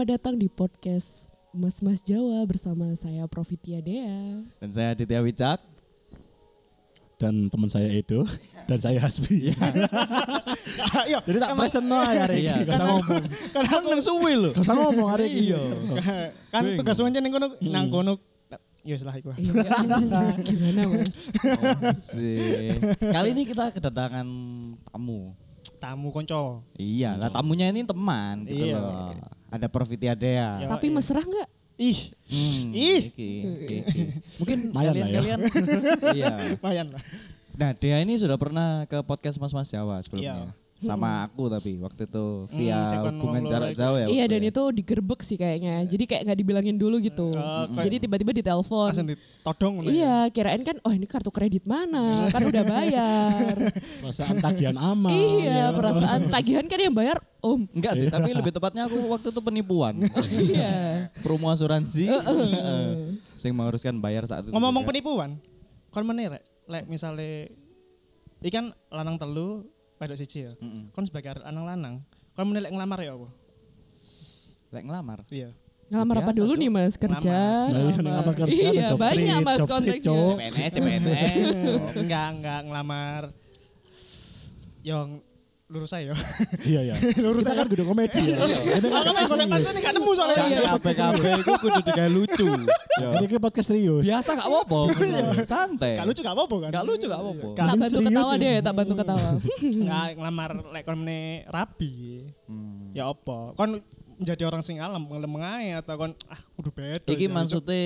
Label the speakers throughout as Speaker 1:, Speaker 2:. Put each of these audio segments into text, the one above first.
Speaker 1: datang di podcast Mas Mas Jawa bersama saya Profitia Dea.
Speaker 2: Dan saya Aditya Wicak.
Speaker 3: dan teman saya Edo dan saya Hasbi.
Speaker 4: Ayo,
Speaker 3: Jadi tak present no hari
Speaker 2: Iya, Oh,
Speaker 3: ini. Oh, Gak usah
Speaker 4: karena-
Speaker 3: ngomong.
Speaker 4: ya, kan aku
Speaker 2: Nang suwi lho.
Speaker 3: Gak usah ngomong hari ini. Iya.
Speaker 4: kan
Speaker 2: Bingung.
Speaker 4: tugas wawancara nang kono nang kono ya lah iku.
Speaker 1: Eh, gimana Mas?
Speaker 2: Oh, sih. Kali ini kita kedatangan tamu.
Speaker 4: Tamu konco.
Speaker 2: Iya, lah tamunya ini teman gitu
Speaker 4: Iya.
Speaker 2: loh. Ada Profitia Dea.
Speaker 4: Iya.
Speaker 1: Tapi
Speaker 4: iya.
Speaker 1: mesra nggak?
Speaker 4: Ih,
Speaker 2: Hmm,
Speaker 4: Ih.
Speaker 2: iki, iki, iki. Mungkin
Speaker 3: Lumayan lah ya.
Speaker 2: kalian-kalian iya.
Speaker 4: lumayan lah.
Speaker 2: Nah, Dea ini sudah pernah ke podcast Mas Mas Jawa sebelumnya. Sama aku tapi waktu itu via
Speaker 4: Iya. Hmm, second
Speaker 2: hubungan
Speaker 4: monologue
Speaker 2: jarak
Speaker 4: itu.
Speaker 2: jauh ya.
Speaker 1: iya
Speaker 2: waktu
Speaker 1: dan itu digerbek sih kayaknya. Jadi kayak nggak dibilangin dulu gitu.
Speaker 4: Eh, kayak-
Speaker 1: Jadi tiba-tiba ditelepon.
Speaker 4: Langsung ditodong ngono ya.
Speaker 1: Iya, kirain kan oh ini kartu kredit mana? Kan udah bayar.
Speaker 3: Perasaan tagihan aman.
Speaker 1: iya,
Speaker 3: ya.
Speaker 1: perasaan tagihan kan yang bayar Om.
Speaker 2: Enggak sih, tapi lebih tepatnya aku waktu itu penipuan.
Speaker 1: Iya.
Speaker 2: Promo asuransi. Sing mengharuskan bayar saat itu.
Speaker 4: Ngomong-ngomong
Speaker 2: juga.
Speaker 4: penipuan. Kon meneh rek, lek misale ikan lanang telu pada siji ya.
Speaker 2: Mm-mm.
Speaker 4: Kon sebagai arek lanang-lanang, kon meneh lek ngelamar ya apa?
Speaker 2: Lek ngelamar.
Speaker 4: Iya.
Speaker 1: Ngelamar apa
Speaker 2: Biasa,
Speaker 1: dulu
Speaker 2: Cuk.
Speaker 1: nih Mas kerja?
Speaker 3: Nah, iya, ngelamar kerja, ada
Speaker 1: Iya,
Speaker 3: job
Speaker 1: banyak
Speaker 3: street,
Speaker 1: Mas
Speaker 3: job street,
Speaker 1: konteksnya.
Speaker 3: Cuk.
Speaker 2: CPNS, CPNS.
Speaker 4: enggak, enggak ngelamar. Yang lurus aja ya.
Speaker 3: Iya iya. Kita kan gede komedi ya. Ini kan
Speaker 4: Aku
Speaker 3: podcast
Speaker 4: masih
Speaker 3: serius.
Speaker 4: pasane gak nemu soalnya.
Speaker 1: Oh, iya.
Speaker 2: KKB itu kudu digawe lucu. Ya.
Speaker 3: Ini kan podcast serius.
Speaker 2: Biasa gak apa-apa. Santai.
Speaker 4: Gak lucu gak apa-apa kan?
Speaker 2: Gak lucu gak apa-apa.
Speaker 4: Gak
Speaker 1: Tak
Speaker 3: Kalian
Speaker 1: bantu
Speaker 3: serius
Speaker 1: ketawa
Speaker 3: nih.
Speaker 1: deh, tak bantu ketawa.
Speaker 4: Hmm. Nggak ngelamar lek kon meneh rapi.
Speaker 2: Hmm.
Speaker 4: Ya apa? Kon menjadi orang sing alam ngelem ae atau kon ah kudu beda.
Speaker 2: Iki
Speaker 4: ya.
Speaker 2: maksudnya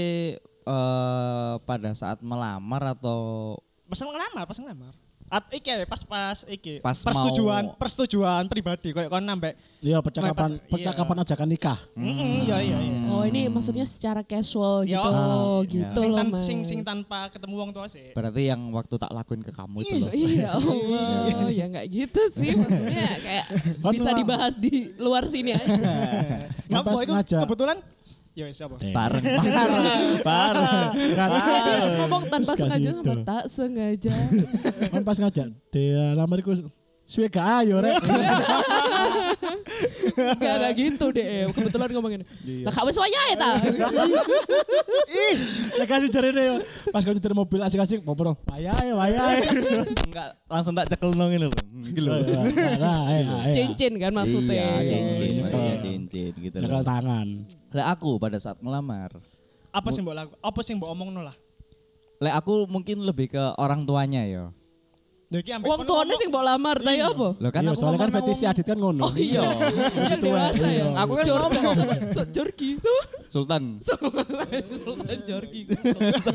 Speaker 2: eh, pada saat melamar atau
Speaker 4: pas ngelamar, pas ngelamar. At iki ya, pas-pas iki.
Speaker 2: Pas
Speaker 4: persetujuan,
Speaker 2: mau- Hmm.
Speaker 4: persetujuan pribadi koyo kon nambah.
Speaker 3: Iya percakapan
Speaker 4: Iya.
Speaker 3: percakapan ajakan nikah.
Speaker 4: Heeh, iya iya iya.
Speaker 1: Oh ini maksudnya secara casual
Speaker 4: Ya,
Speaker 1: gitu,
Speaker 3: oh.
Speaker 1: gitu
Speaker 4: Sing,
Speaker 1: loh
Speaker 4: tan-
Speaker 1: mas.
Speaker 4: sing, sing tanpa ketemu wong tua sih.
Speaker 2: berarti yang waktu tak lakuin ke kamu itu Gitu loh.
Speaker 1: Iya Allah, ya nggak gitu sih maksudnya kayak
Speaker 3: Kan
Speaker 1: bisa
Speaker 3: lah.
Speaker 1: dibahas di luar sini aja.
Speaker 4: Nggak
Speaker 3: Tanpa
Speaker 4: apa Eh, itu
Speaker 3: sengaja.
Speaker 4: kebetulan ya wis apa.
Speaker 2: Bareng, bareng, bareng.
Speaker 1: Jadi
Speaker 3: Ah.
Speaker 1: ngomong tanpa
Speaker 3: Terus
Speaker 1: sengaja
Speaker 3: kasih
Speaker 1: sama
Speaker 3: itu.
Speaker 1: tak sengaja.
Speaker 3: Kan pas ngajak dia lamar iku suwe gak ayo rek.
Speaker 1: Gak gak gitu deh. Kebetulan ngomongin. Lah kau semuanya ya ta?
Speaker 3: Ya kasih jarene pas kau nyetir mobil asik-asik ngobrol. Wayahe wayahe.
Speaker 2: Enggak, langsung tak cekel nongin loh. Gitu loh.
Speaker 3: Nah,
Speaker 1: Cincin kan maksudnya.
Speaker 2: Iya, cincin,
Speaker 3: Iya.
Speaker 2: maksudnya cincin gitu
Speaker 3: Nakal
Speaker 2: loh.
Speaker 3: tangan.
Speaker 2: Lah aku pada saat melamar,
Speaker 4: Apa sih mbok laku? Apa sih mbok omongno lah?
Speaker 2: lah aku mungkin lebih ke orang tuanya ya.
Speaker 4: Ya iki ambek
Speaker 1: Uang
Speaker 4: kon
Speaker 1: tuannya
Speaker 4: ngomong-
Speaker 1: sing bawa lamar, tapi apa?
Speaker 2: Loh kan
Speaker 3: Iya,
Speaker 2: aku
Speaker 3: soalnya kan
Speaker 2: ngomong-
Speaker 3: fetisi Adit kan ngono.
Speaker 1: Oh iya, yang
Speaker 3: Tua,
Speaker 1: dewasa ya.
Speaker 3: iya.
Speaker 2: Aku kan ngomong
Speaker 1: So- Jorgi tuh
Speaker 2: Sultan.
Speaker 1: sama Sultan Jorgi.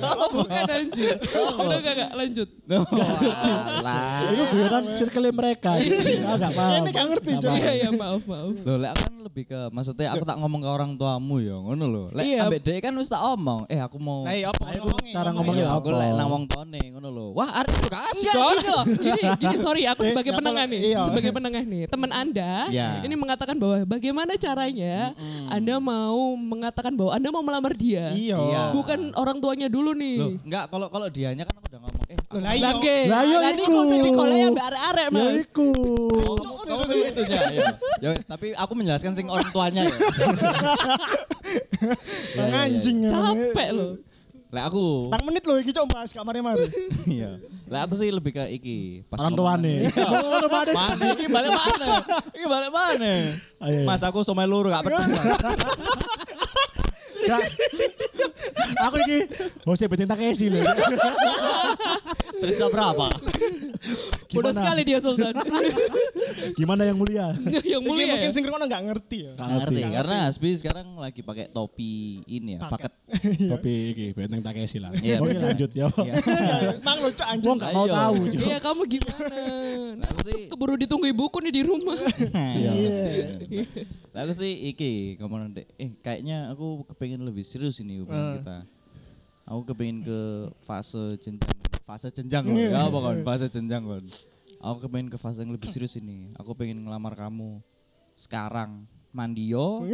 Speaker 1: Oh bukan anjir. Udah gak gak lanjut.
Speaker 2: Lah.
Speaker 3: Itu guyonan circle mereka. Iya, Enggak paham.
Speaker 4: Ini nggak ngerti,
Speaker 3: Nggak
Speaker 4: Cuk.
Speaker 3: paham.
Speaker 1: Iya iya maaf maaf.
Speaker 2: Loh, lek aku kan lebih ke maksudnya aku tak ngomong ke orang tuamu ya, ngono lho. Lek
Speaker 1: Iya.
Speaker 2: ambek dhek kan wis tak omong, eh aku mau
Speaker 4: Nah, iya apa
Speaker 3: Nah, iku
Speaker 4: ngomongin,
Speaker 3: cara
Speaker 2: ngomongin
Speaker 3: ngomongin
Speaker 2: aku
Speaker 3: apa?
Speaker 2: lek nang wong tone ngono lho. Wah, arek juga asik.
Speaker 1: Enggak gini loh, gini, gini sorry aku sebagai
Speaker 4: Eh,
Speaker 1: penengah nih,
Speaker 4: iya.
Speaker 1: sebagai penengah nih, teman anda
Speaker 2: Ya.
Speaker 1: ini mengatakan bahwa bagaimana caranya anda mau mengatakan bahwa anda mau melamar dia,
Speaker 4: Iya.
Speaker 2: Iya.
Speaker 1: bukan orang tuanya dulu
Speaker 2: Loh,
Speaker 1: nih.
Speaker 2: enggak kalau kalau dianya kan aku udah ngomong, eh aku-
Speaker 4: Loh, lah iya.
Speaker 1: Lagi,
Speaker 3: Lah, iya
Speaker 1: tadi
Speaker 3: iku.
Speaker 1: kau tadi kalau yang arek-arek
Speaker 3: Ya
Speaker 1: mas.
Speaker 3: iku.
Speaker 2: Oh, kamu, kamu suruh itu ya. iya. Ya wes, tapi aku menjelaskan sing orang tuanya ya. iya,
Speaker 4: Bang anjing. emang.
Speaker 1: Capek loh.
Speaker 2: Lek aku.
Speaker 4: Tang menit loh iki cok bahas kamar-kamar.
Speaker 2: Iya. Lek aku sih lebih ke iki, pas
Speaker 3: Orang
Speaker 2: ngomong-
Speaker 3: tuane.
Speaker 2: Orang tuane. Ah, Mana iki balik mana? Iki balik mana?
Speaker 3: Ayo.
Speaker 2: Mas aku somai luru gak peduli.
Speaker 3: Gak. Nah. Aku iki oh, Jose Betinta Kesi lho.
Speaker 2: Terus gak berapa?
Speaker 1: Bodoh
Speaker 3: Gimana?
Speaker 1: sekali dia Sultan.
Speaker 3: Gimana yang mulia?
Speaker 1: yang
Speaker 4: Iki
Speaker 1: mulia.
Speaker 4: mungkin
Speaker 1: ya.
Speaker 4: sing ngono gak ngerti ya.
Speaker 2: Gak ngerti, karena Hasbi sekarang lagi pakai topi ini ya, paket.
Speaker 4: Paket.
Speaker 3: Tapi iki Benteng Takeshi lah.
Speaker 2: Iya,
Speaker 3: Oke
Speaker 2: bener.
Speaker 3: lanjut ya.
Speaker 2: Iya.
Speaker 4: Mang lo cok anjing.
Speaker 3: Wong gak mau
Speaker 2: Ayo.
Speaker 3: tahu. Jo.
Speaker 1: Iya kamu gimana?
Speaker 2: Nah, aku sih,
Speaker 1: Keburu ditunggu ibuku nih di rumah.
Speaker 2: iya.
Speaker 1: Iya.
Speaker 2: Nah, aku sih iki ngomong nanti. Eh, kayaknya aku kepengen lebih serius ini hubungan kita. Aku kepengen ke fase jenjang, fase jenjang loh. Ya apa kon? Fase jenjang kon. Aku kepengen ke fase yang lebih serius ini. Aku pengen ngelamar kamu sekarang. Mandio.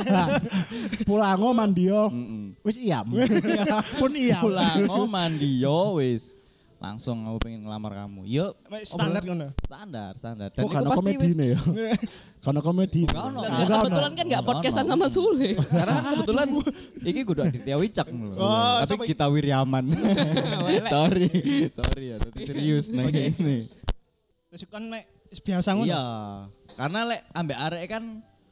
Speaker 3: Nah, Pulango
Speaker 2: Hmm.
Speaker 3: mandio.
Speaker 2: Mm-mm.
Speaker 3: Wis iam. Pun iam.
Speaker 2: Pulango mandio wis. langsung aku pengen ngelamar kamu. Yo,
Speaker 4: standar ngono.
Speaker 2: standar, standar.
Speaker 3: Oh, karena
Speaker 2: pasti
Speaker 3: komedi
Speaker 2: wis-
Speaker 3: nih ya. Karena komedi.
Speaker 2: Enggak ono.
Speaker 1: Lah,
Speaker 2: Enggak
Speaker 1: nggak,
Speaker 3: ono.
Speaker 1: kebetulan kan nggak
Speaker 2: Enggak
Speaker 1: podcastan
Speaker 2: ono.
Speaker 1: sama Sule.
Speaker 2: Karena kan kebetulan iki kudu Aditya Wicak lho.
Speaker 4: Oh,
Speaker 2: Tapi
Speaker 4: sampai-
Speaker 2: kita Wiryaman. sorry, sorry ya, tapi serius nih ini.
Speaker 4: Terus kan mek wis biasa ngono.
Speaker 2: Iya, karena lek ambek arek kan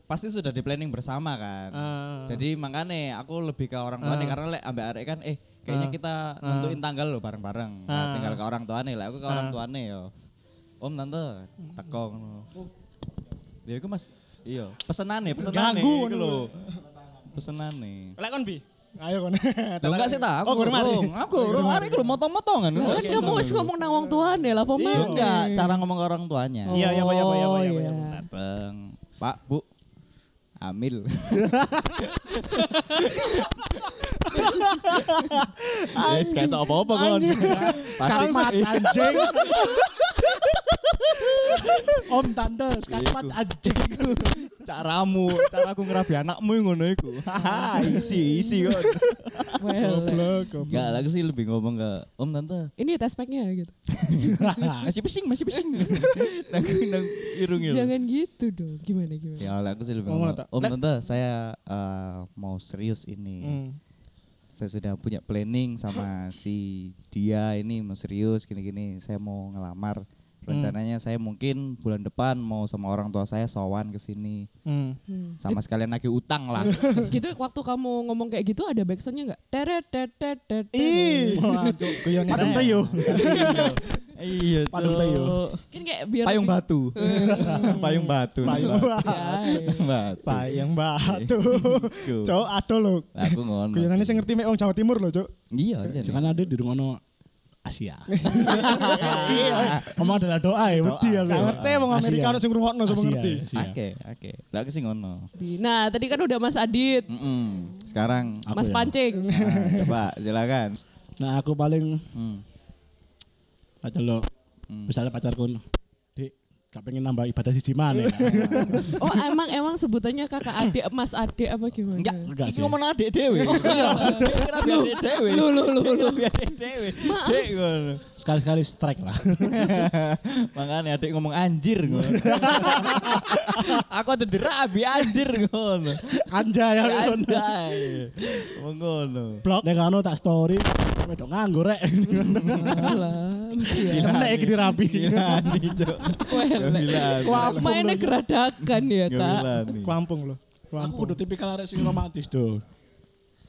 Speaker 2: pasti sudah di planning bersama kan.
Speaker 4: Ah.
Speaker 2: Jadi makanya aku lebih ke orang tua nih
Speaker 4: Ah.
Speaker 2: karena lek ambek arek kan eh kayaknya
Speaker 4: Ah.
Speaker 2: kita nentuin tanggal loh bareng-bareng. Nah,
Speaker 4: Ah.
Speaker 2: tinggal ke orang tua nih, lek aku ke orang
Speaker 4: Ah.
Speaker 2: tua nih yo. Om tante teko ngono. Ya iku Mas. Iya, pesenane, pesenane
Speaker 4: Ganggu
Speaker 2: iku
Speaker 4: ngono.
Speaker 2: lho. Pesenane.
Speaker 4: Lek kon bi. Ayo kon.
Speaker 2: Lah enggak sih tak, aku
Speaker 4: Oh, kurang
Speaker 2: urung. Aku urung arek iku lho motong-motongan.
Speaker 1: Lah, kan kamu wis ngomong nang wong tuane lah apa
Speaker 2: Iya,
Speaker 1: mana?
Speaker 2: enggak, cara ngomong ke orang tuanya.
Speaker 4: Iya, iya, iya, iya,
Speaker 1: Oh,
Speaker 4: iya,
Speaker 1: iya.
Speaker 4: iya.
Speaker 2: Dateng, Pak, Bu, hamil. Yes, gak usah apa-apa kon. Pasti
Speaker 3: Kalimat anjing. Om tante,
Speaker 4: Gitu.
Speaker 3: kalimat anjing.
Speaker 2: caramu, caraku ngerabi anakmu yang ngono iku. Haha, isi, isi kon.
Speaker 1: Well,
Speaker 2: Enggak, lagi sih lebih ngomong ke Om Tante.
Speaker 1: ini tes packnya gitu.
Speaker 2: Masih pusing, masih pusing. Nang nang irung irung.
Speaker 1: Jangan gitu dong. Gimana gimana?
Speaker 2: Ya, lah, aku sih lebih
Speaker 4: Oh,
Speaker 2: ngomong,
Speaker 4: ngono, tak?
Speaker 2: Om
Speaker 4: Lah-
Speaker 2: Tante, saya eh, mau serius ini.
Speaker 4: Hmm.
Speaker 2: saya sudah punya planning sama si dia ini mau serius gini-gini saya mau ngelamar rencananya saya mungkin bulan depan mau sama orang tua saya sowan ke sini
Speaker 4: Hmm.
Speaker 1: Hmm.
Speaker 2: sama sekalian lagi utang lah
Speaker 1: gitu waktu kamu ngomong kayak gitu ada backsoundnya nggak? Teret teret teret teret.
Speaker 4: Ih.
Speaker 3: Padang tayo.
Speaker 2: iya
Speaker 3: Padahal
Speaker 2: Cuk.
Speaker 3: tayo.
Speaker 1: Kan kayak biar
Speaker 2: payung batu payung batu
Speaker 4: Payung batu.
Speaker 1: Ya,
Speaker 2: batu
Speaker 4: Bayang batu. Cok, aduh lho.
Speaker 2: Lah, aku ngono
Speaker 4: Guyonane
Speaker 2: sih.
Speaker 4: sing ngerti mek wong Jawa Timur lho, Cok.
Speaker 2: iya jen.
Speaker 3: Jangan ada di rumah no Asia. Omong adalah doa ya, wedi aku.
Speaker 4: Iya. Gak ngerti wong
Speaker 3: Asia.
Speaker 4: Amerika ono sing ngrungokno sapa
Speaker 3: Asia,
Speaker 4: ngerti.
Speaker 3: Asia.
Speaker 2: oke oke lah aku sih ngono
Speaker 1: Di- Nah, tadi kan udah Mas Adit,
Speaker 2: Mm-mm. sekarang
Speaker 3: Aku
Speaker 1: Mas
Speaker 3: ya.
Speaker 1: Pancing.
Speaker 2: ah, coba silakan
Speaker 3: Nah aku paling
Speaker 2: Hmm.
Speaker 3: aja lo
Speaker 2: Hmm.
Speaker 3: misalnya pacarku Dik, gak pengen nambah ibadah siji mana
Speaker 1: Oh, emang emang sebutannya kakak adik, Mas Adik apa gimana?
Speaker 2: Enggak,
Speaker 3: Enggak
Speaker 2: ini
Speaker 3: sih.
Speaker 2: ngomong adik dewe. Kira biar adik dewe. Lu lu lu lu adik dewe.
Speaker 1: Maaf.
Speaker 2: Dek ngono.
Speaker 3: Sekali-sekali strike lah.
Speaker 2: Makanya adik ngomong anjir ngono. Aku ada derak abi anjir ngono.
Speaker 3: Anjay ya.
Speaker 2: Anjay. Ngomong ngono.
Speaker 3: Blok. Nek anu tak story. Wedok nganggur rek.
Speaker 1: Alah, mesti ya.
Speaker 3: Temen iki dirabi.
Speaker 2: Gila nih, Cok. Gila.
Speaker 1: Wah, mainnya geradakan ya, Kak.
Speaker 2: Gila nih.
Speaker 4: Kuampung lho.
Speaker 3: Aku
Speaker 4: Kuampung.
Speaker 3: udah tipikal arek sing romantis do.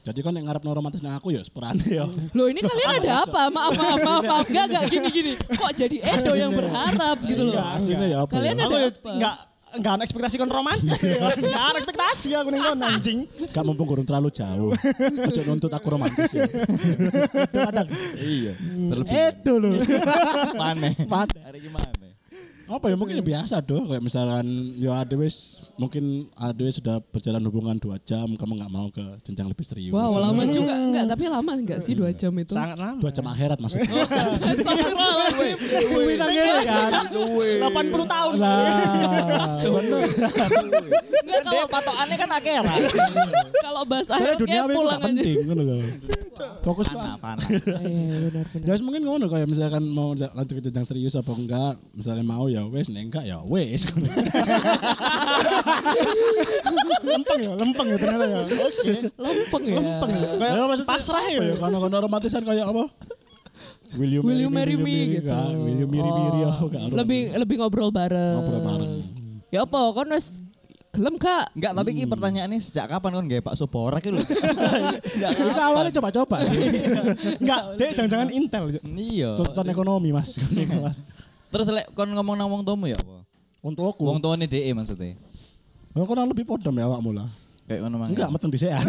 Speaker 3: Jadi kan yang ngarep no romantis nang aku ya seperane ya.
Speaker 1: Loh, ini kalian ada apa? Maaf, maaf, maaf, maaf. Enggak, enggak gini-gini. Kok jadi Edo yang berharap gitu loh.
Speaker 3: Aslinya ya apa
Speaker 1: Kalian
Speaker 3: ya?
Speaker 1: ada
Speaker 4: Aku ya
Speaker 1: apa?
Speaker 4: enggak enggak ada ekspektasi kon romantis ya. Enggak ada ekspektasi aku ning kon anjing.
Speaker 3: Gak mumpung kurang terlalu jauh. Ojo nuntut aku romantis ya. Kadang
Speaker 2: Iya. Terlebih
Speaker 3: eh dulu.
Speaker 2: maneh.
Speaker 3: Maneh.
Speaker 2: Hari gimana?
Speaker 3: Apa ya mungkin ya biasa doh kayak misalkan ya ada wis mungkin ada wis sudah berjalan hubungan dua jam kamu nggak mau ke jenjang lebih serius.
Speaker 1: Wow, lama juga. Enggak, tapi lama enggak sih dua jam itu?
Speaker 4: Sangat lama.
Speaker 3: Dua jam akhirat maksudnya.
Speaker 1: Astagfirullahaladzim.
Speaker 3: kan.
Speaker 4: 80 tahun.
Speaker 3: Lah, bener.
Speaker 1: Enggak, kalau
Speaker 2: patokannya kan akhirat.
Speaker 1: kalau bahas
Speaker 3: Saya
Speaker 1: akhir kayak
Speaker 3: dunia itu
Speaker 1: pulang
Speaker 3: nggak
Speaker 1: aja.
Speaker 3: penting ngono loh. Fokus ke
Speaker 2: Fana, fana.
Speaker 1: Iya, benar, benar.
Speaker 3: Ya wis mungkin ngono kayak misalkan mau ja- lanjut ke jenjang serius apa enggak, misalnya mau ya wes, nek enggak ya wes.
Speaker 4: Lempeng ya, lempeng ya ternyata ya. Oke.
Speaker 1: Lempeng ya.
Speaker 4: Lempeng. ya. Kayak
Speaker 3: Ya maksudnya
Speaker 4: pasrah ya.
Speaker 3: apa Kono-kono romantisan kayak apa? Will you,
Speaker 1: Will you marry me gitu.
Speaker 3: Enggak, will you marry me
Speaker 1: Oh.
Speaker 3: apa enggak?
Speaker 1: Lebih lebih ngobrol bareng.
Speaker 3: Ngobrol bareng.
Speaker 1: Ya apa kan wis gelem Kak.
Speaker 2: Enggak, tapi ini pertanyaannya sejak kapan kon gak Pak Soborak itu lho? Sejak
Speaker 3: Kita awalnya coba-coba sih.
Speaker 4: Enggak, dek jangan-jangan intel. Cuk.
Speaker 2: Iya.
Speaker 3: Tuntutan ekonomi mas. Iya, Mas.
Speaker 2: Terus lek kon ngomong nang wong tuamu ya apa?
Speaker 3: Untuk aku.
Speaker 2: Wong tuane DE maksudnya.
Speaker 3: Ya, Kau kan lebih podem ya awakmu lah.
Speaker 2: Kayak ngono mang.
Speaker 3: Enggak, meteng dhisik ya.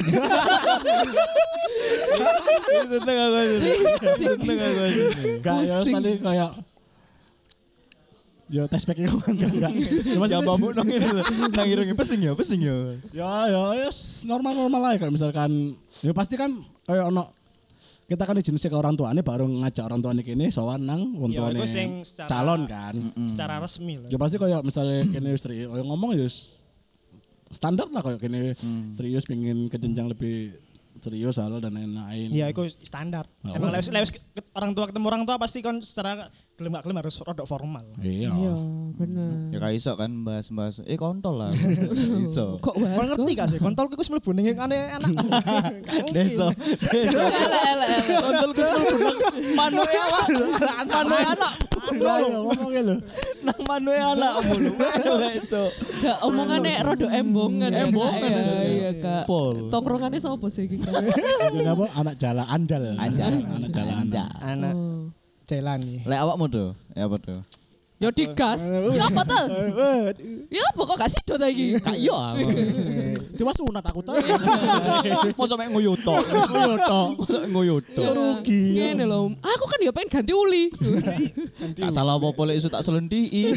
Speaker 2: seneng aku.
Speaker 3: Iya.
Speaker 2: Seneng aku.
Speaker 3: Enggak, ya
Speaker 1: Pusing.
Speaker 3: tadi kayak Ya tes pack itu enggak enggak. Ya, maksudnya-
Speaker 2: Jabamu nang ngene. gitu Nang irunge pesing ya, pesing ya.
Speaker 3: Ya, ya, yes, normal-normal aja kayak misalkan, ya pasti kan, kayak ono, kita kan izin sih ke orang tuanya baru ngajak orang tuanya kini sowan nang wong
Speaker 4: Ya,
Speaker 3: tuane
Speaker 4: itu sing secara-
Speaker 3: calon kan.
Speaker 4: Secara resmi lah.
Speaker 3: Ya pasti kayak misalnya kini serius,
Speaker 4: Mm.
Speaker 3: kayak ngomong ya s- standar lah kayak kini serius pingin ke jenjang lebih serius halal dan lain-lain.
Speaker 4: Iya, itu standar.
Speaker 3: Oh.
Speaker 4: Emang lewis, lewis ke- ke- orang tua ketemu orang tua pasti kan secara gelem gak gelem harus rodok formal.
Speaker 3: Iya.
Speaker 1: Iya, bener.
Speaker 2: Ya kayak iso kan bahas-bahas. Eh kontol lah. iso.
Speaker 1: Kok bahas
Speaker 4: Kau
Speaker 1: kok?
Speaker 4: ngerti gak sih? Kontol kuis mlebu ning aneh anak.
Speaker 2: Deso. Deso.
Speaker 1: Ele, ele, ele.
Speaker 2: Kontol kus Manue anak. Manue e anak.
Speaker 3: ngomongnya lo.
Speaker 2: Nang manue anak mulu. Elek, Cok.
Speaker 1: Gak omongannya rodo embongan. ya, Kak.
Speaker 2: Embongan,
Speaker 1: Iya,
Speaker 2: bener.
Speaker 1: Iya, Kak.
Speaker 2: Pol.
Speaker 1: Tongkrongannya sopo sih? Kak?
Speaker 3: Jadi apa? Anak jala andal.
Speaker 2: Anjal.
Speaker 3: Anak jala andal.
Speaker 2: Anjal.
Speaker 4: Anak
Speaker 3: Hmm.
Speaker 1: Oh.
Speaker 4: jalan nih.
Speaker 2: Lek awakmu do. Ya apa do?
Speaker 1: Ya digas. Ya apa tuh?
Speaker 4: Eh,
Speaker 1: Ya apa kok gak sido ta iki?
Speaker 2: Kak iya aku.
Speaker 3: Tiba sunat aku tahu.
Speaker 2: Mosok mek nguyu tok. Nguyu tok. Mosok nguyu tok.
Speaker 1: Ya
Speaker 3: Iya.
Speaker 1: rugi. Ngene lho. Aku kan ya pengen ganti uli.
Speaker 2: Gak salah apa-apa lek iso tak selendiki.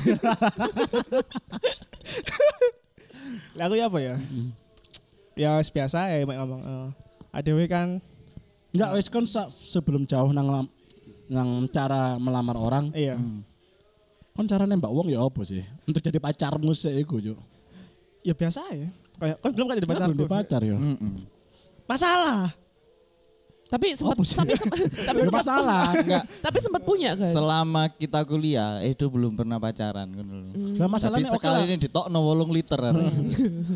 Speaker 4: Lah aku ya apa ya?
Speaker 3: Hmm.
Speaker 4: Ya wis biasa ya mek ngomong. eh, Adewe kan
Speaker 3: Enggak, wis kan sa- sebelum jauh nang lam- nang cara melamar orang,
Speaker 4: iya.
Speaker 3: kan cara nembak wong ya apa sih? Untuk jadi pacarmu sih iku, Cuk.
Speaker 4: Ya biasa ya. Kayak kan belum kan jadi
Speaker 3: Kan
Speaker 4: pacar.
Speaker 3: belum di pacar ya.
Speaker 2: Heeh.
Speaker 4: Masalah.
Speaker 1: Tapi sempat
Speaker 3: Apa sih?
Speaker 1: tapi sempat tapi
Speaker 3: Ada
Speaker 1: sempat
Speaker 3: masalah.
Speaker 2: Enggak.
Speaker 1: tapi sempat punya kan.
Speaker 2: Selama kita kuliah, Edo belum pernah pacaran kan dulu.
Speaker 3: Nah,
Speaker 2: Tapi
Speaker 3: masalahnya oke
Speaker 2: sekali
Speaker 3: lah.
Speaker 2: ini ditokno 8 liter hari.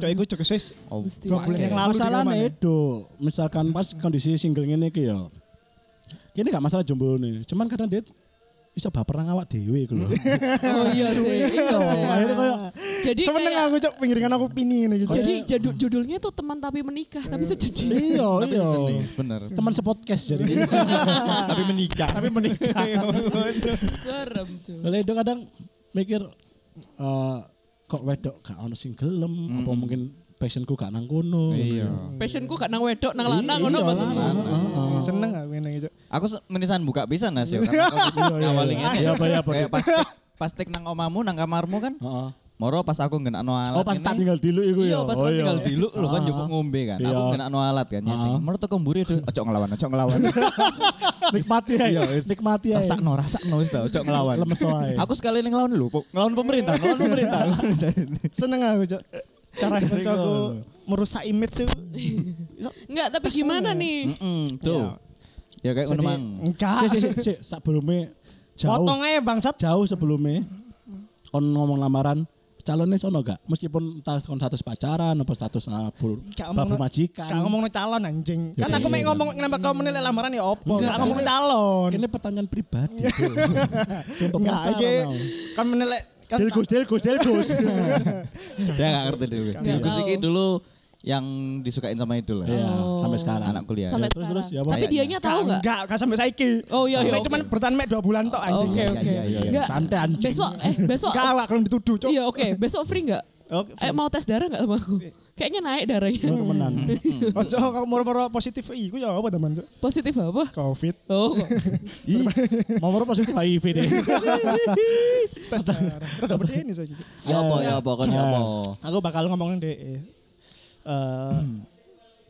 Speaker 4: Cok iku cok wis
Speaker 2: Oh,
Speaker 1: Mesti
Speaker 4: Dua bulan
Speaker 1: pakai.
Speaker 4: yang lalu.
Speaker 3: masalahnya
Speaker 4: dia
Speaker 3: itu misalkan pas kondisi single ini ki ya ini gak masalah jomblo nih cuman kadang dia bisa baperan awak dewe gitu loh
Speaker 1: Oh iya sih. Iya sih.
Speaker 3: akhirnya kayak
Speaker 1: Jadi
Speaker 4: Semeneng
Speaker 1: kayak-
Speaker 4: aku cok pinggiringan aku pini ini gitu.
Speaker 1: jadi jadu- judulnya tuh teman tapi menikah tapi sejadi.
Speaker 3: iya
Speaker 2: tapi
Speaker 3: iya
Speaker 2: jenis bener. Iya.
Speaker 3: teman sepodcast jadi
Speaker 2: tapi menikah. Tapi menikah.
Speaker 1: Serem cuy.
Speaker 3: kalau itu kadang mikir eh, kok wedok gak ono sing gelem apa mungkin passionku gak nang kono
Speaker 2: Hmm. Iya.
Speaker 1: Passionku gak nang wedok nang lanang ngono
Speaker 3: Iya,
Speaker 1: maksudnya.
Speaker 3: lanang, heeh.
Speaker 4: Seneng aku ini cok.
Speaker 2: Aku se- menisan buka pisan Nas yo karena aku wis ngawali ngene.
Speaker 3: Iya, apa, iya, apa.
Speaker 2: Kayak pas tik- pas tik nang omamu nang kamarmu kan.
Speaker 3: Heeh.
Speaker 2: Moro pas aku ngenakno alat.
Speaker 3: oh pas
Speaker 2: ini,
Speaker 3: tak tinggal dulu iku ya
Speaker 2: Iya, pas
Speaker 3: Oh,
Speaker 2: kan tinggal diluk lho kan
Speaker 3: Ah.
Speaker 2: njupuk ngombe kan. Aku
Speaker 3: Iya.
Speaker 2: ngenakno alat kan. nyeting.
Speaker 3: Ah. Iya,
Speaker 2: Moro teko mburi Edo, ojo ngelawan, ojo ngelawan.
Speaker 3: nikmati ya
Speaker 2: Iya, wis.
Speaker 3: nikmati ya
Speaker 2: Rasakno, rasakno wis ta, ojo ngelawan.
Speaker 3: lemes wae
Speaker 2: Aku sekali ini ngelawan lho, po- ngelawan pemerintah,
Speaker 3: Oh,
Speaker 2: ngelawan pemerintah.
Speaker 4: Seneng aku cok. Cara
Speaker 3: Jadi
Speaker 4: cok aku
Speaker 3: ngono.
Speaker 4: merusak image itu.
Speaker 1: Enggak, tapi gimana nih?
Speaker 2: Heeh, tuh. Ya kayak ngono mang.
Speaker 4: Enggak.
Speaker 3: sih sih sih, sih sebelumnya jauh
Speaker 4: Potong aja bangsat.
Speaker 3: jauh sebelumnya kon ngomong lamaran calonnya sono gak meskipun entah kon status pacaran apa status abul
Speaker 4: Gak
Speaker 3: babu
Speaker 4: ngomong-
Speaker 3: majikan
Speaker 4: Gak ngomong calon anjing. Kan
Speaker 3: Ya,
Speaker 4: aku mek
Speaker 3: iya.
Speaker 4: ngomong kenapa kau menilai lamaran ya opo.
Speaker 3: Enggak.
Speaker 4: Gak ngomong calon.
Speaker 3: ini pertanyaan pribadi sumpah
Speaker 4: Enggak, iki
Speaker 3: penasaran
Speaker 4: kan menilai kan
Speaker 3: delgus delgus delgus
Speaker 2: Dia gak Ya, ngerti dulu.
Speaker 1: Nggak
Speaker 2: Terus
Speaker 1: tahu.
Speaker 2: iki dulu yang disukain sama Idul ya.
Speaker 3: Iya, sampai sekarang
Speaker 2: Anak kuliah.
Speaker 1: Oh. Sampai
Speaker 3: terus terus ya
Speaker 1: sekarang.
Speaker 3: apa
Speaker 1: Tapi dianya tahu
Speaker 4: Gak-
Speaker 1: nggak?
Speaker 4: Enggak, gak sampai saiki.
Speaker 1: Oh iya iya.
Speaker 4: Mek cuman bertahan mek 2 bulan tok anjing.
Speaker 1: Oke oke.
Speaker 2: Iya, iya, iya.
Speaker 1: Enggak.
Speaker 3: santai anjing
Speaker 1: Besok eh besok
Speaker 4: Enggak lah kalau dituduh, Cuk.
Speaker 1: Iya oke, besok free nggak?
Speaker 4: Oke.
Speaker 1: Eh mau tes darah nggak sama aku? Kayaknya naik darahnya.
Speaker 3: Lu temenan
Speaker 4: Ojo Oh, kok moro-moro positif iku ya apa teman, Cuk?
Speaker 1: Positif apa?
Speaker 4: Covid.
Speaker 1: Oh, kok.
Speaker 3: Ih, mau baru positif HIV deh
Speaker 4: Tes darah. Rada pedih ini saiki. Cuk.
Speaker 2: Ya apa ya apa kan ya apa.
Speaker 3: Iya.
Speaker 4: Aku bakal ngomongin deh.
Speaker 3: E.
Speaker 4: Eh
Speaker 3: Eh,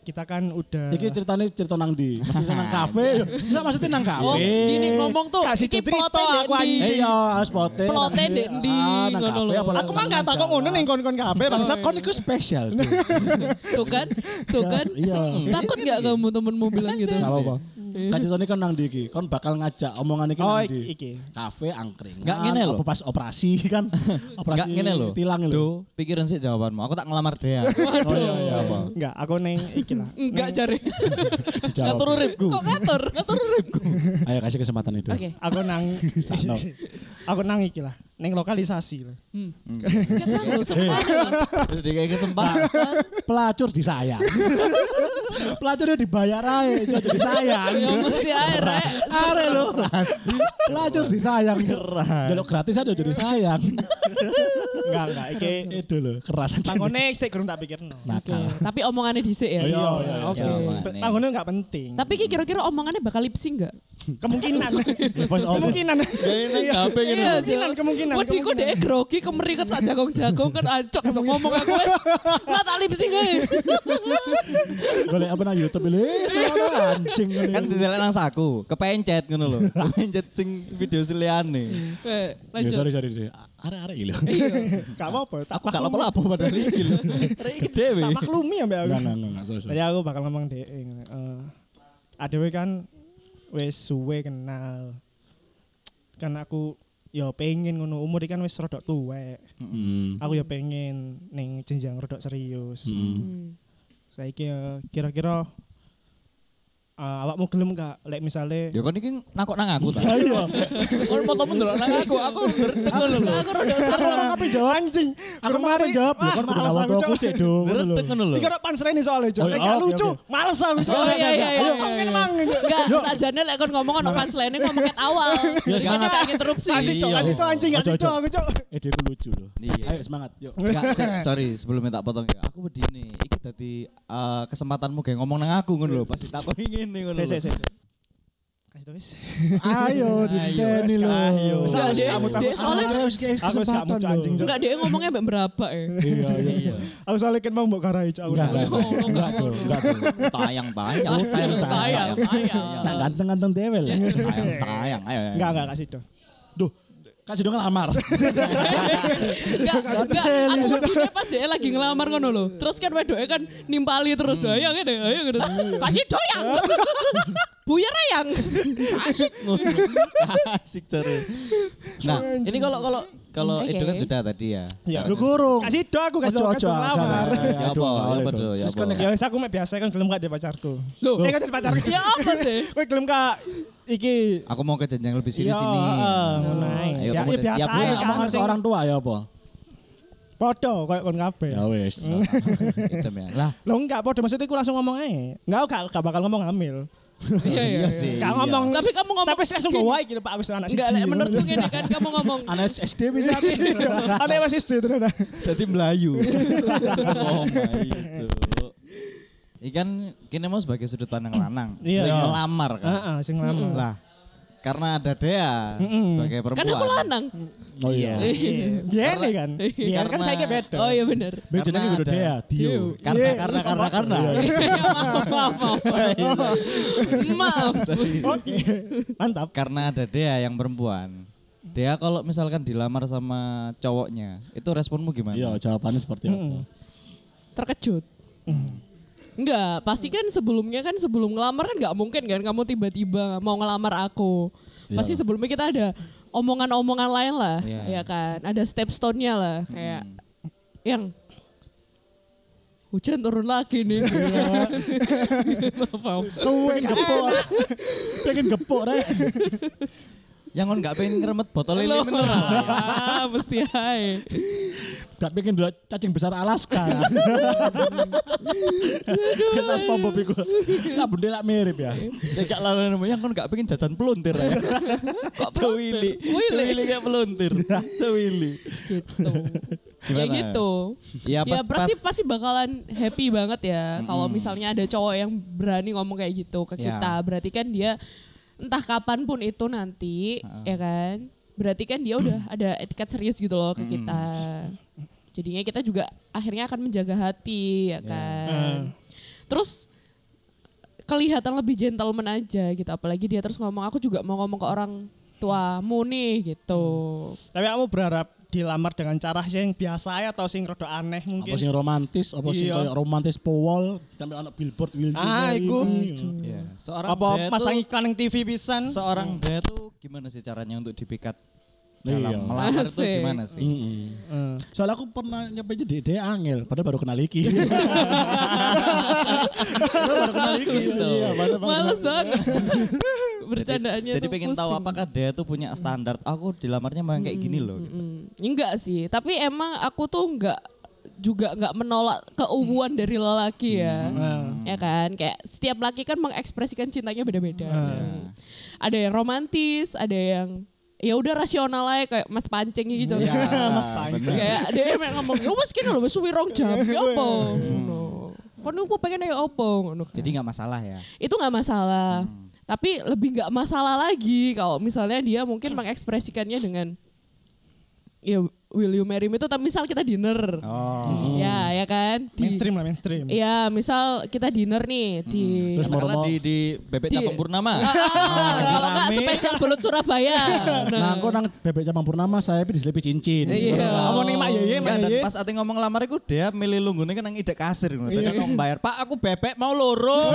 Speaker 4: kita kan udah
Speaker 3: Iki ceritanya cerita nang di, cerita nang kafe. Enggak maksudnya nang kafe.
Speaker 1: Oh, gini ngomong tuh.
Speaker 4: Kasih
Speaker 1: Iki
Speaker 4: tuh cerita
Speaker 1: plote
Speaker 4: aku,
Speaker 1: ndek ndi?
Speaker 4: anjing.
Speaker 3: Iya, spote.
Speaker 1: Pelote ndek ndi,
Speaker 3: Ah, nang
Speaker 1: ngono
Speaker 3: kafe Iya.
Speaker 1: lho.
Speaker 3: apa
Speaker 4: Aku mah gak tau kok ngono ning kon-kon kabeh
Speaker 1: Bang.
Speaker 3: Bangsa
Speaker 4: bangsa.
Speaker 3: kon iku spesial. tuh.
Speaker 1: Tuh kan? Tuh kan?
Speaker 3: Iya.
Speaker 1: Takut nggak kamu temenmu bilang gitu?
Speaker 3: Gak apa-apa.
Speaker 1: Iya.
Speaker 3: Kan ceritanya kan nang di iki. Kon bakal ngajak omongan iki
Speaker 4: Oh,
Speaker 3: nang
Speaker 4: iki.
Speaker 3: di.
Speaker 4: iki.
Speaker 3: Kafe angkringan.
Speaker 2: Nggak ngene lho.
Speaker 3: Apa pas operasi kan.
Speaker 2: Enggak
Speaker 3: Operasi
Speaker 2: ngene lho.
Speaker 3: Tilang
Speaker 2: Do,
Speaker 3: lho.
Speaker 2: pikirin sih jawabanmu. Aku tak ngelamar dia.
Speaker 3: Oh iya iya.
Speaker 2: apa?
Speaker 4: Enggak, aku neng iki lah.
Speaker 1: Enggak cari.
Speaker 3: Dijawab.
Speaker 2: Ngatur uripku.
Speaker 1: Kok ngatur? Ngatur uripku.
Speaker 3: Ayo kasih kesempatan itu.
Speaker 1: Oke.
Speaker 4: Aku nang
Speaker 3: Sakno.
Speaker 4: aku nang iki lah. Neng lokalisasi lah.
Speaker 1: Kita lu
Speaker 3: Eh,
Speaker 1: sempat.
Speaker 2: Terus dikasih kesempatan.
Speaker 3: Nah. Pelacur disayang. Pelacurnya dibayar aja, jadi disayang.
Speaker 1: Ya mesti ae, Rek.
Speaker 3: Are lo. Pelacur disayang. Keras. Jaluk gratis aja jadi sayang.
Speaker 4: Enggak, enggak iki.
Speaker 3: Itu lho, keras aja.
Speaker 4: Tangone sik kurang tak pikirno.
Speaker 1: Oke,
Speaker 3: Nakal.
Speaker 1: Tapi omongannya dhisik ya.
Speaker 3: Iya, iya,
Speaker 1: Oke.
Speaker 2: iya. Aneh.
Speaker 4: Tangone enggak penting.
Speaker 1: Tapi Ki, kira-kira omongannya bakal lip sync enggak?
Speaker 4: kemungkinan.
Speaker 3: Voice over.
Speaker 4: kemungkinan. Iya.
Speaker 1: Iya,
Speaker 4: Kemungkinan, kemungkinan.
Speaker 1: Wedi kok
Speaker 4: kemungkinan.
Speaker 1: dhek grogi kemeriket sak jagong-jagong kan ancok iso ngomong aku wis. Lah tak lip sync Eh, ae.
Speaker 3: Golek apa nang YouTube ini? Sono anjing ini.
Speaker 2: Kan didelek nang saku, kepencet ngono lho. Kepencet sing video siliane.
Speaker 1: Eh,
Speaker 3: Ya,
Speaker 1: Lanjut.
Speaker 3: sorry sorry sorry. Arek-arek iki lho.
Speaker 1: Iya.
Speaker 4: Gak apa-apa. tak
Speaker 2: Aku gak
Speaker 4: maklumi.
Speaker 2: lapo-lapo padahal iki lho. Rek iki dhewe.
Speaker 4: Tak maklumi ya mbak aku.
Speaker 3: Enggak, enggak, enggak, enggak, sorry, sorry.
Speaker 4: Jadi aku bakal ngomong deh. eh adewe kan wis suwe kenal. Kan aku ya pengen ngono umur iki kan wis rodok tuwek.
Speaker 2: Hmm.
Speaker 3: Mm.
Speaker 4: Aku ya pengen ning jenjang rodok serius.
Speaker 3: Mm.
Speaker 1: Hmm.
Speaker 4: Saiki ya kira-kira eh, awakmu gelem gak lek misale
Speaker 2: Ya kon iki nakok nang aku ta. Iya. Kon motomu ndelok nang aku, aku bertekun lho.
Speaker 1: Aku rada serem.
Speaker 4: Tapi jawab anjing.
Speaker 3: Aku kemarin jawab, ya kan
Speaker 4: malas
Speaker 3: pendapat
Speaker 4: aku
Speaker 3: aku
Speaker 4: jawab.
Speaker 3: sih dong.
Speaker 2: Bertekun lho.
Speaker 4: Ini kan panser ini soalnya
Speaker 3: Oh,
Speaker 4: jawab.
Speaker 3: iya,
Speaker 4: Gak
Speaker 3: oke,
Speaker 4: lucu.
Speaker 3: oke.
Speaker 4: Males aku
Speaker 1: Oh
Speaker 4: jawab.
Speaker 1: iya iya iya.
Speaker 4: Ayo mungkin mang.
Speaker 1: Enggak, sajane lek kon ngomong ono punchline ngomong ket awal.
Speaker 2: Yo,
Speaker 1: Jadi
Speaker 2: semangat.
Speaker 1: kita interupsi.
Speaker 4: Kasih cok,
Speaker 2: Iya.
Speaker 4: kasih cok anjing, kasih
Speaker 3: Ojo,
Speaker 4: cok
Speaker 3: ojo.
Speaker 4: aku cok.
Speaker 3: Eh, dia lucu loh.
Speaker 2: Iya.
Speaker 3: Ayo semangat, yuk.
Speaker 2: Enggak, se- sorry sebelumnya tak potong ya. Aku bedine iki dadi eh, kesempatanmu kayak ngomong nang aku ngono lho, pas ditakoni ngene ngono.
Speaker 4: Sik
Speaker 2: lho.
Speaker 4: sik sik. Kasih tau wis.
Speaker 3: Ayo, di sini loh.
Speaker 2: ayo.
Speaker 1: Enggak,
Speaker 4: Aku
Speaker 1: dia,
Speaker 4: kamu takut
Speaker 1: dia soalnya
Speaker 3: harus kayak
Speaker 4: Aku harus
Speaker 3: kesempatan
Speaker 4: kamu
Speaker 3: loh.
Speaker 4: anjing, Cok.
Speaker 1: enggak dia ngomongnya sampai berapa ya?
Speaker 3: Iya, iya.
Speaker 2: Iya.
Speaker 4: Aku soalnya kan mau mbok karai cok. Aku
Speaker 3: Enggak,
Speaker 4: takut.
Speaker 3: enggak,
Speaker 1: Enggak,
Speaker 3: enggak, enggak, bro, enggak, bro.
Speaker 2: Tayang tayang.
Speaker 1: Oh, Tayang, tayang, tayang.
Speaker 3: Nah, ganteng-ganteng dewe lah.
Speaker 2: Tayang tayang. Ayo. ayo.
Speaker 4: Enggak enggak kasih cok.
Speaker 3: Duh, kasih dong lamar.
Speaker 1: Enggak, enggak. Aku begini pas dia lagi ngelamar ngono loh. Terus kan wedoknya kan nimpali terus. Ayo ngene, ayo ngene. ya. Kasih doyang. Buyar ayang.
Speaker 2: asik ngono. asik cara nah ini kalau kalau kalau
Speaker 1: Oke.
Speaker 2: itu kan sudah tadi ya
Speaker 4: Iya.
Speaker 2: Caranya.
Speaker 3: Lu kurung.
Speaker 4: Kasih do aku kasih tau kasih tau lamar.
Speaker 2: ya apa ya apa tuh ya
Speaker 3: Terus
Speaker 2: apa
Speaker 3: kan
Speaker 4: Ya wis aku mek biasa kan gelem gak dia pacarku.
Speaker 1: Loh.
Speaker 4: Eh kan dia pacarku.
Speaker 1: Ya apa sih?
Speaker 4: Kowe gelem gak iki
Speaker 2: aku mau ke jenjang lebih serius
Speaker 4: Iya,
Speaker 2: ini
Speaker 4: heeh, ngono ae.
Speaker 2: ayo
Speaker 4: Ya,
Speaker 2: kamu
Speaker 4: iya,
Speaker 2: udah siap
Speaker 4: biasa
Speaker 2: ya
Speaker 4: ae,
Speaker 3: Omongan
Speaker 4: Kan
Speaker 3: ke
Speaker 4: sing-
Speaker 3: orang tua ya apa?
Speaker 4: podo koyo kon kabeh.
Speaker 3: Ya wis.
Speaker 2: Hitam ya. lah
Speaker 4: Loh enggak podo maksudnya aku langsung ngomong ae. Enggak aku gak- gak bakal ngomong hamil.
Speaker 1: Iya, iya, iya.
Speaker 2: sih
Speaker 4: Gak
Speaker 2: iya.
Speaker 4: ngomong.
Speaker 1: Tapi kamu ngomong
Speaker 4: Tapi langsung
Speaker 1: gini.
Speaker 4: gue gitu Pak aku anak siji.
Speaker 1: Enggak, lek menurutku gini kan kamu ngomong
Speaker 3: Anak SD bisa.
Speaker 4: Ada masih istri ternyata.
Speaker 2: jadi melayu oh my god Ikan kini mau sebagai sudut pandang lanang,
Speaker 4: Iya. ah.
Speaker 2: sing melamar kan.
Speaker 4: Heeh, sing lama.
Speaker 2: Lah, karena ada Dea
Speaker 4: Mm-mm.
Speaker 2: sebagai
Speaker 1: kan
Speaker 2: perempuan.
Speaker 1: aku lanang.
Speaker 3: Oh iya.
Speaker 4: Biar kan. Biar kan
Speaker 2: Karena-
Speaker 4: saya beda.
Speaker 1: Oh iya bener.
Speaker 3: Beda
Speaker 2: Karena
Speaker 3: nih udah
Speaker 2: ada- Iya.
Speaker 3: dia,
Speaker 1: Dio.
Speaker 4: Iya,
Speaker 3: Dio.
Speaker 2: Karena karena karena karena.
Speaker 1: Ya, maaf, maaf, maaf. Maaf.
Speaker 4: Oke. Mantap.
Speaker 2: karena ada Dea yang perempuan. Dea kalau misalkan dilamar sama cowoknya, itu responmu gimana?
Speaker 3: Iya, jawabannya seperti apa?
Speaker 1: Terkejut. Enggak, pasti kan sebelumnya kan sebelum ngelamar kan nggak mungkin kan kamu tiba-tiba mau ngelamar aku. Pasti sebelumnya kita ada omongan-omongan lain lah,
Speaker 2: Iya. Hmm.
Speaker 1: ya kan. Ada stepstone-nya lah, kayak yang hujan turun lagi nih.
Speaker 2: Iya,
Speaker 1: Maaf, maaf.
Speaker 3: Suwe gepok. Pengen gepok rek.
Speaker 2: Yang kon nggak pengen ngeremet botol lele
Speaker 1: Loh,
Speaker 2: mineral.
Speaker 1: ah, mesti hai.
Speaker 3: Gak pengen dulu cacing besar Alaska. Kita SpongeBob iku. Lah bunde lah mirip ya.
Speaker 2: Ya gak lawan namanya, yang kon nggak pengen jajan peluntir. Kok cewili?
Speaker 1: Wili.
Speaker 2: Cewili kayak peluntir. Cewili.
Speaker 1: gitu. Ya
Speaker 2: Gimana?
Speaker 1: gitu.
Speaker 2: Ya
Speaker 1: Ya,
Speaker 2: pas pas
Speaker 1: pasti pasti bakalan happy banget ya kalau misalnya ada cowok yang berani ngomong kayak gitu ke
Speaker 2: Ya.
Speaker 1: kita. Berarti kan dia entah kapan pun itu nanti, ya kan? Berarti kan dia udah ada etiket serius gitu loh ke kita. Jadinya kita juga akhirnya akan menjaga hati, ya kan? Terus kelihatan lebih gentleman aja gitu. Apalagi dia terus ngomong aku juga mau ngomong ke orang tuamu nih gitu.
Speaker 2: Hmm.
Speaker 4: Tapi kamu berharap dilamar dengan cara sing biasa ya atau sing rada aneh mungkin.
Speaker 3: Apa sing romantis, apa sing
Speaker 4: Iya.
Speaker 3: kayak romantis powol sampai anak billboard will you
Speaker 4: Ah,
Speaker 3: marry
Speaker 4: iku.
Speaker 3: me.
Speaker 2: ya, seorang Dea
Speaker 4: Apa
Speaker 2: tuh-
Speaker 4: masang iklan yang TV pisan?
Speaker 2: seorang Dea tuh gimana sih caranya untuk dipikat dalam
Speaker 3: Hmm. Iya. Hmm.
Speaker 2: melamar itu
Speaker 1: Asik.
Speaker 2: gimana sih?
Speaker 3: Mm-mm.
Speaker 4: Eh.
Speaker 3: Soalnya aku pernah nyampe jadi dia angel, padahal baru kenal Iki.
Speaker 4: Iya,
Speaker 3: baru kenal Iki.
Speaker 2: Iya, Gitu.
Speaker 3: Iya, padahal baru
Speaker 1: Males
Speaker 3: kenal-
Speaker 1: banget. Bercandaannya
Speaker 2: Jadi
Speaker 1: tuh
Speaker 2: pengen tahu
Speaker 1: pusing.
Speaker 2: apakah Dea tuh punya standar. Aku dilamarnya memang kayak gini loh. gitu.
Speaker 1: Mm, enggak sih, tapi emang aku tuh enggak juga enggak menolak keubuan dari lelaki ya.
Speaker 4: Nah, Hmm.
Speaker 2: Hmm.
Speaker 1: Ya kan? Kayak setiap laki kan mengekspresikan cintanya beda-beda. Hmm. Ada yang romantis, ada yang ya udah rasional aja kayak Mas Pancing gitu.
Speaker 2: Hmm.
Speaker 4: Mas Panji.
Speaker 2: Iya, bener.
Speaker 1: kayak dia emang ngomong, "Ya wes kene lho wis suwi rong jam, ya apa?" Ngono. Kon aku pengen ya apa ngono. kan.
Speaker 2: Jadi nggak masalah ya.
Speaker 1: itu nggak masalah. Tapi lebih nggak masalah lagi kalau misalnya dia mungkin mengekspresikannya dengan ya will you marry me itu tapi misal kita dinner.
Speaker 2: Oh.
Speaker 1: Ya, ya kan? Di-
Speaker 4: mainstream lah mainstream
Speaker 1: Iya, misal kita dinner nih di
Speaker 3: Terus mau-
Speaker 2: Katakanlah di di Bebek
Speaker 1: Di-
Speaker 2: Tapang Purnama.
Speaker 1: Ah, ah, kalau nggak
Speaker 4: rame.
Speaker 1: spesial belut Surabaya.
Speaker 3: Nah, aku nang bebek cabang purnama saya tapi diselipi cincin.
Speaker 1: Iya.
Speaker 4: apa nih mak ya? yeye mak
Speaker 2: Enggak, dan
Speaker 4: yeye
Speaker 2: pas ate ngomong lamar iku dia milih lunggune kan nang idek kasir ngono. Dia kan ngomong bayar, "Pak, aku bebek mau loro."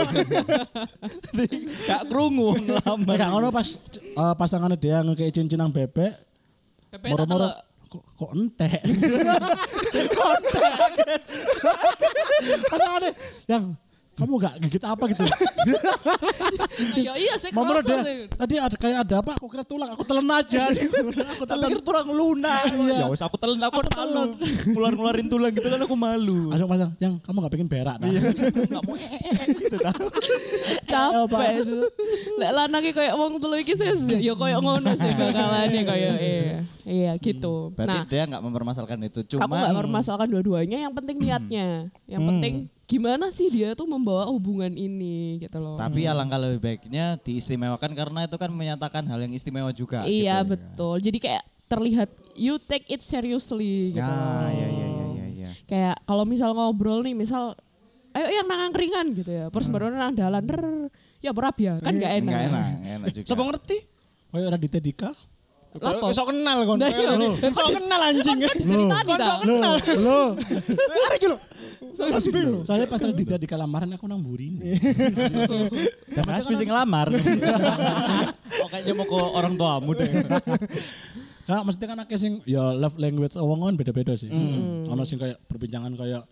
Speaker 2: Gak krungu wong
Speaker 3: Nah,
Speaker 2: lamar.
Speaker 3: Gak ngono pas eh, pasangannya dia ngekei cincin nang bebek,
Speaker 1: Pepe tak
Speaker 3: moro-moro
Speaker 1: kalau-
Speaker 3: kok kok entek. Pasangannya anu, yang kamu gak gigit apa gitu.
Speaker 1: Ya iya sih
Speaker 3: Mau
Speaker 1: kerasa
Speaker 3: dia
Speaker 1: sih.
Speaker 3: tadi ada kayak ada apa? Aku kira tulang, aku telan aja. aku
Speaker 2: Tak
Speaker 3: telan.
Speaker 2: pikir tulang lunak. Ya wis aku telan aku
Speaker 3: Aku telan.
Speaker 2: malu. Ngular-ngularin tulang gitu kan aku malu.
Speaker 3: Langsung pasang, yang kamu gak pengen berak nah.
Speaker 2: Enggak mau eh, eh, eh, gitu tau.
Speaker 1: capek sih. Lek lanang iki koyo wong telu iki sih ya koyo ngono sih bakalane koyo iya. Iya gitu.
Speaker 2: Hmm. Berarti
Speaker 1: Nah,
Speaker 2: dia nggak mempermasalahkan itu. Cuma
Speaker 1: aku nggak mempermasalahkan dua-duanya, yang penting niatnya. Yang penting
Speaker 2: Hmm.
Speaker 1: gimana sih dia tuh membawa hubungan ini gitu loh.
Speaker 2: tapi alangkah lebih baiknya diistimewakan karena itu kan menyatakan hal yang istimewa juga.
Speaker 1: iya
Speaker 2: gitu.
Speaker 1: betul. Jadi kayak terlihat you take it seriously gitu.
Speaker 2: Ah,
Speaker 1: loh.
Speaker 2: iya iya iya iya iya.
Speaker 1: Kayak kalau misal ngobrol nih, misal ayo yang nangang keringan gitu ya. Terus baru nang dalan. "Rer, Ya berap ya, kan gak enak.
Speaker 2: Enggak enak, Hmm. nggak enak juga.
Speaker 4: Sopo ngerti
Speaker 3: Kayak Raditya Dika.
Speaker 1: Lapo?
Speaker 4: Kok
Speaker 2: kan-
Speaker 4: sok kenal kon.
Speaker 1: Nah, iya.
Speaker 4: Sok kenal anjing.
Speaker 1: Kan diceritani
Speaker 4: Kon
Speaker 1: ta.
Speaker 4: kok kenal.
Speaker 3: Lo,
Speaker 4: Arek iki lho. Sepi
Speaker 2: Iya.
Speaker 4: lho.
Speaker 3: soalnya pas Raditya Dika lamaran aku nang burin.
Speaker 2: Dan Mas bisa
Speaker 4: kan
Speaker 2: ngelamar. Pokoknya mau ke orang tuamu deh.
Speaker 3: Karena maksudnya kan akeh sing ya love language wong kan beda-beda sih. Ono sing kayak perbincangan kayak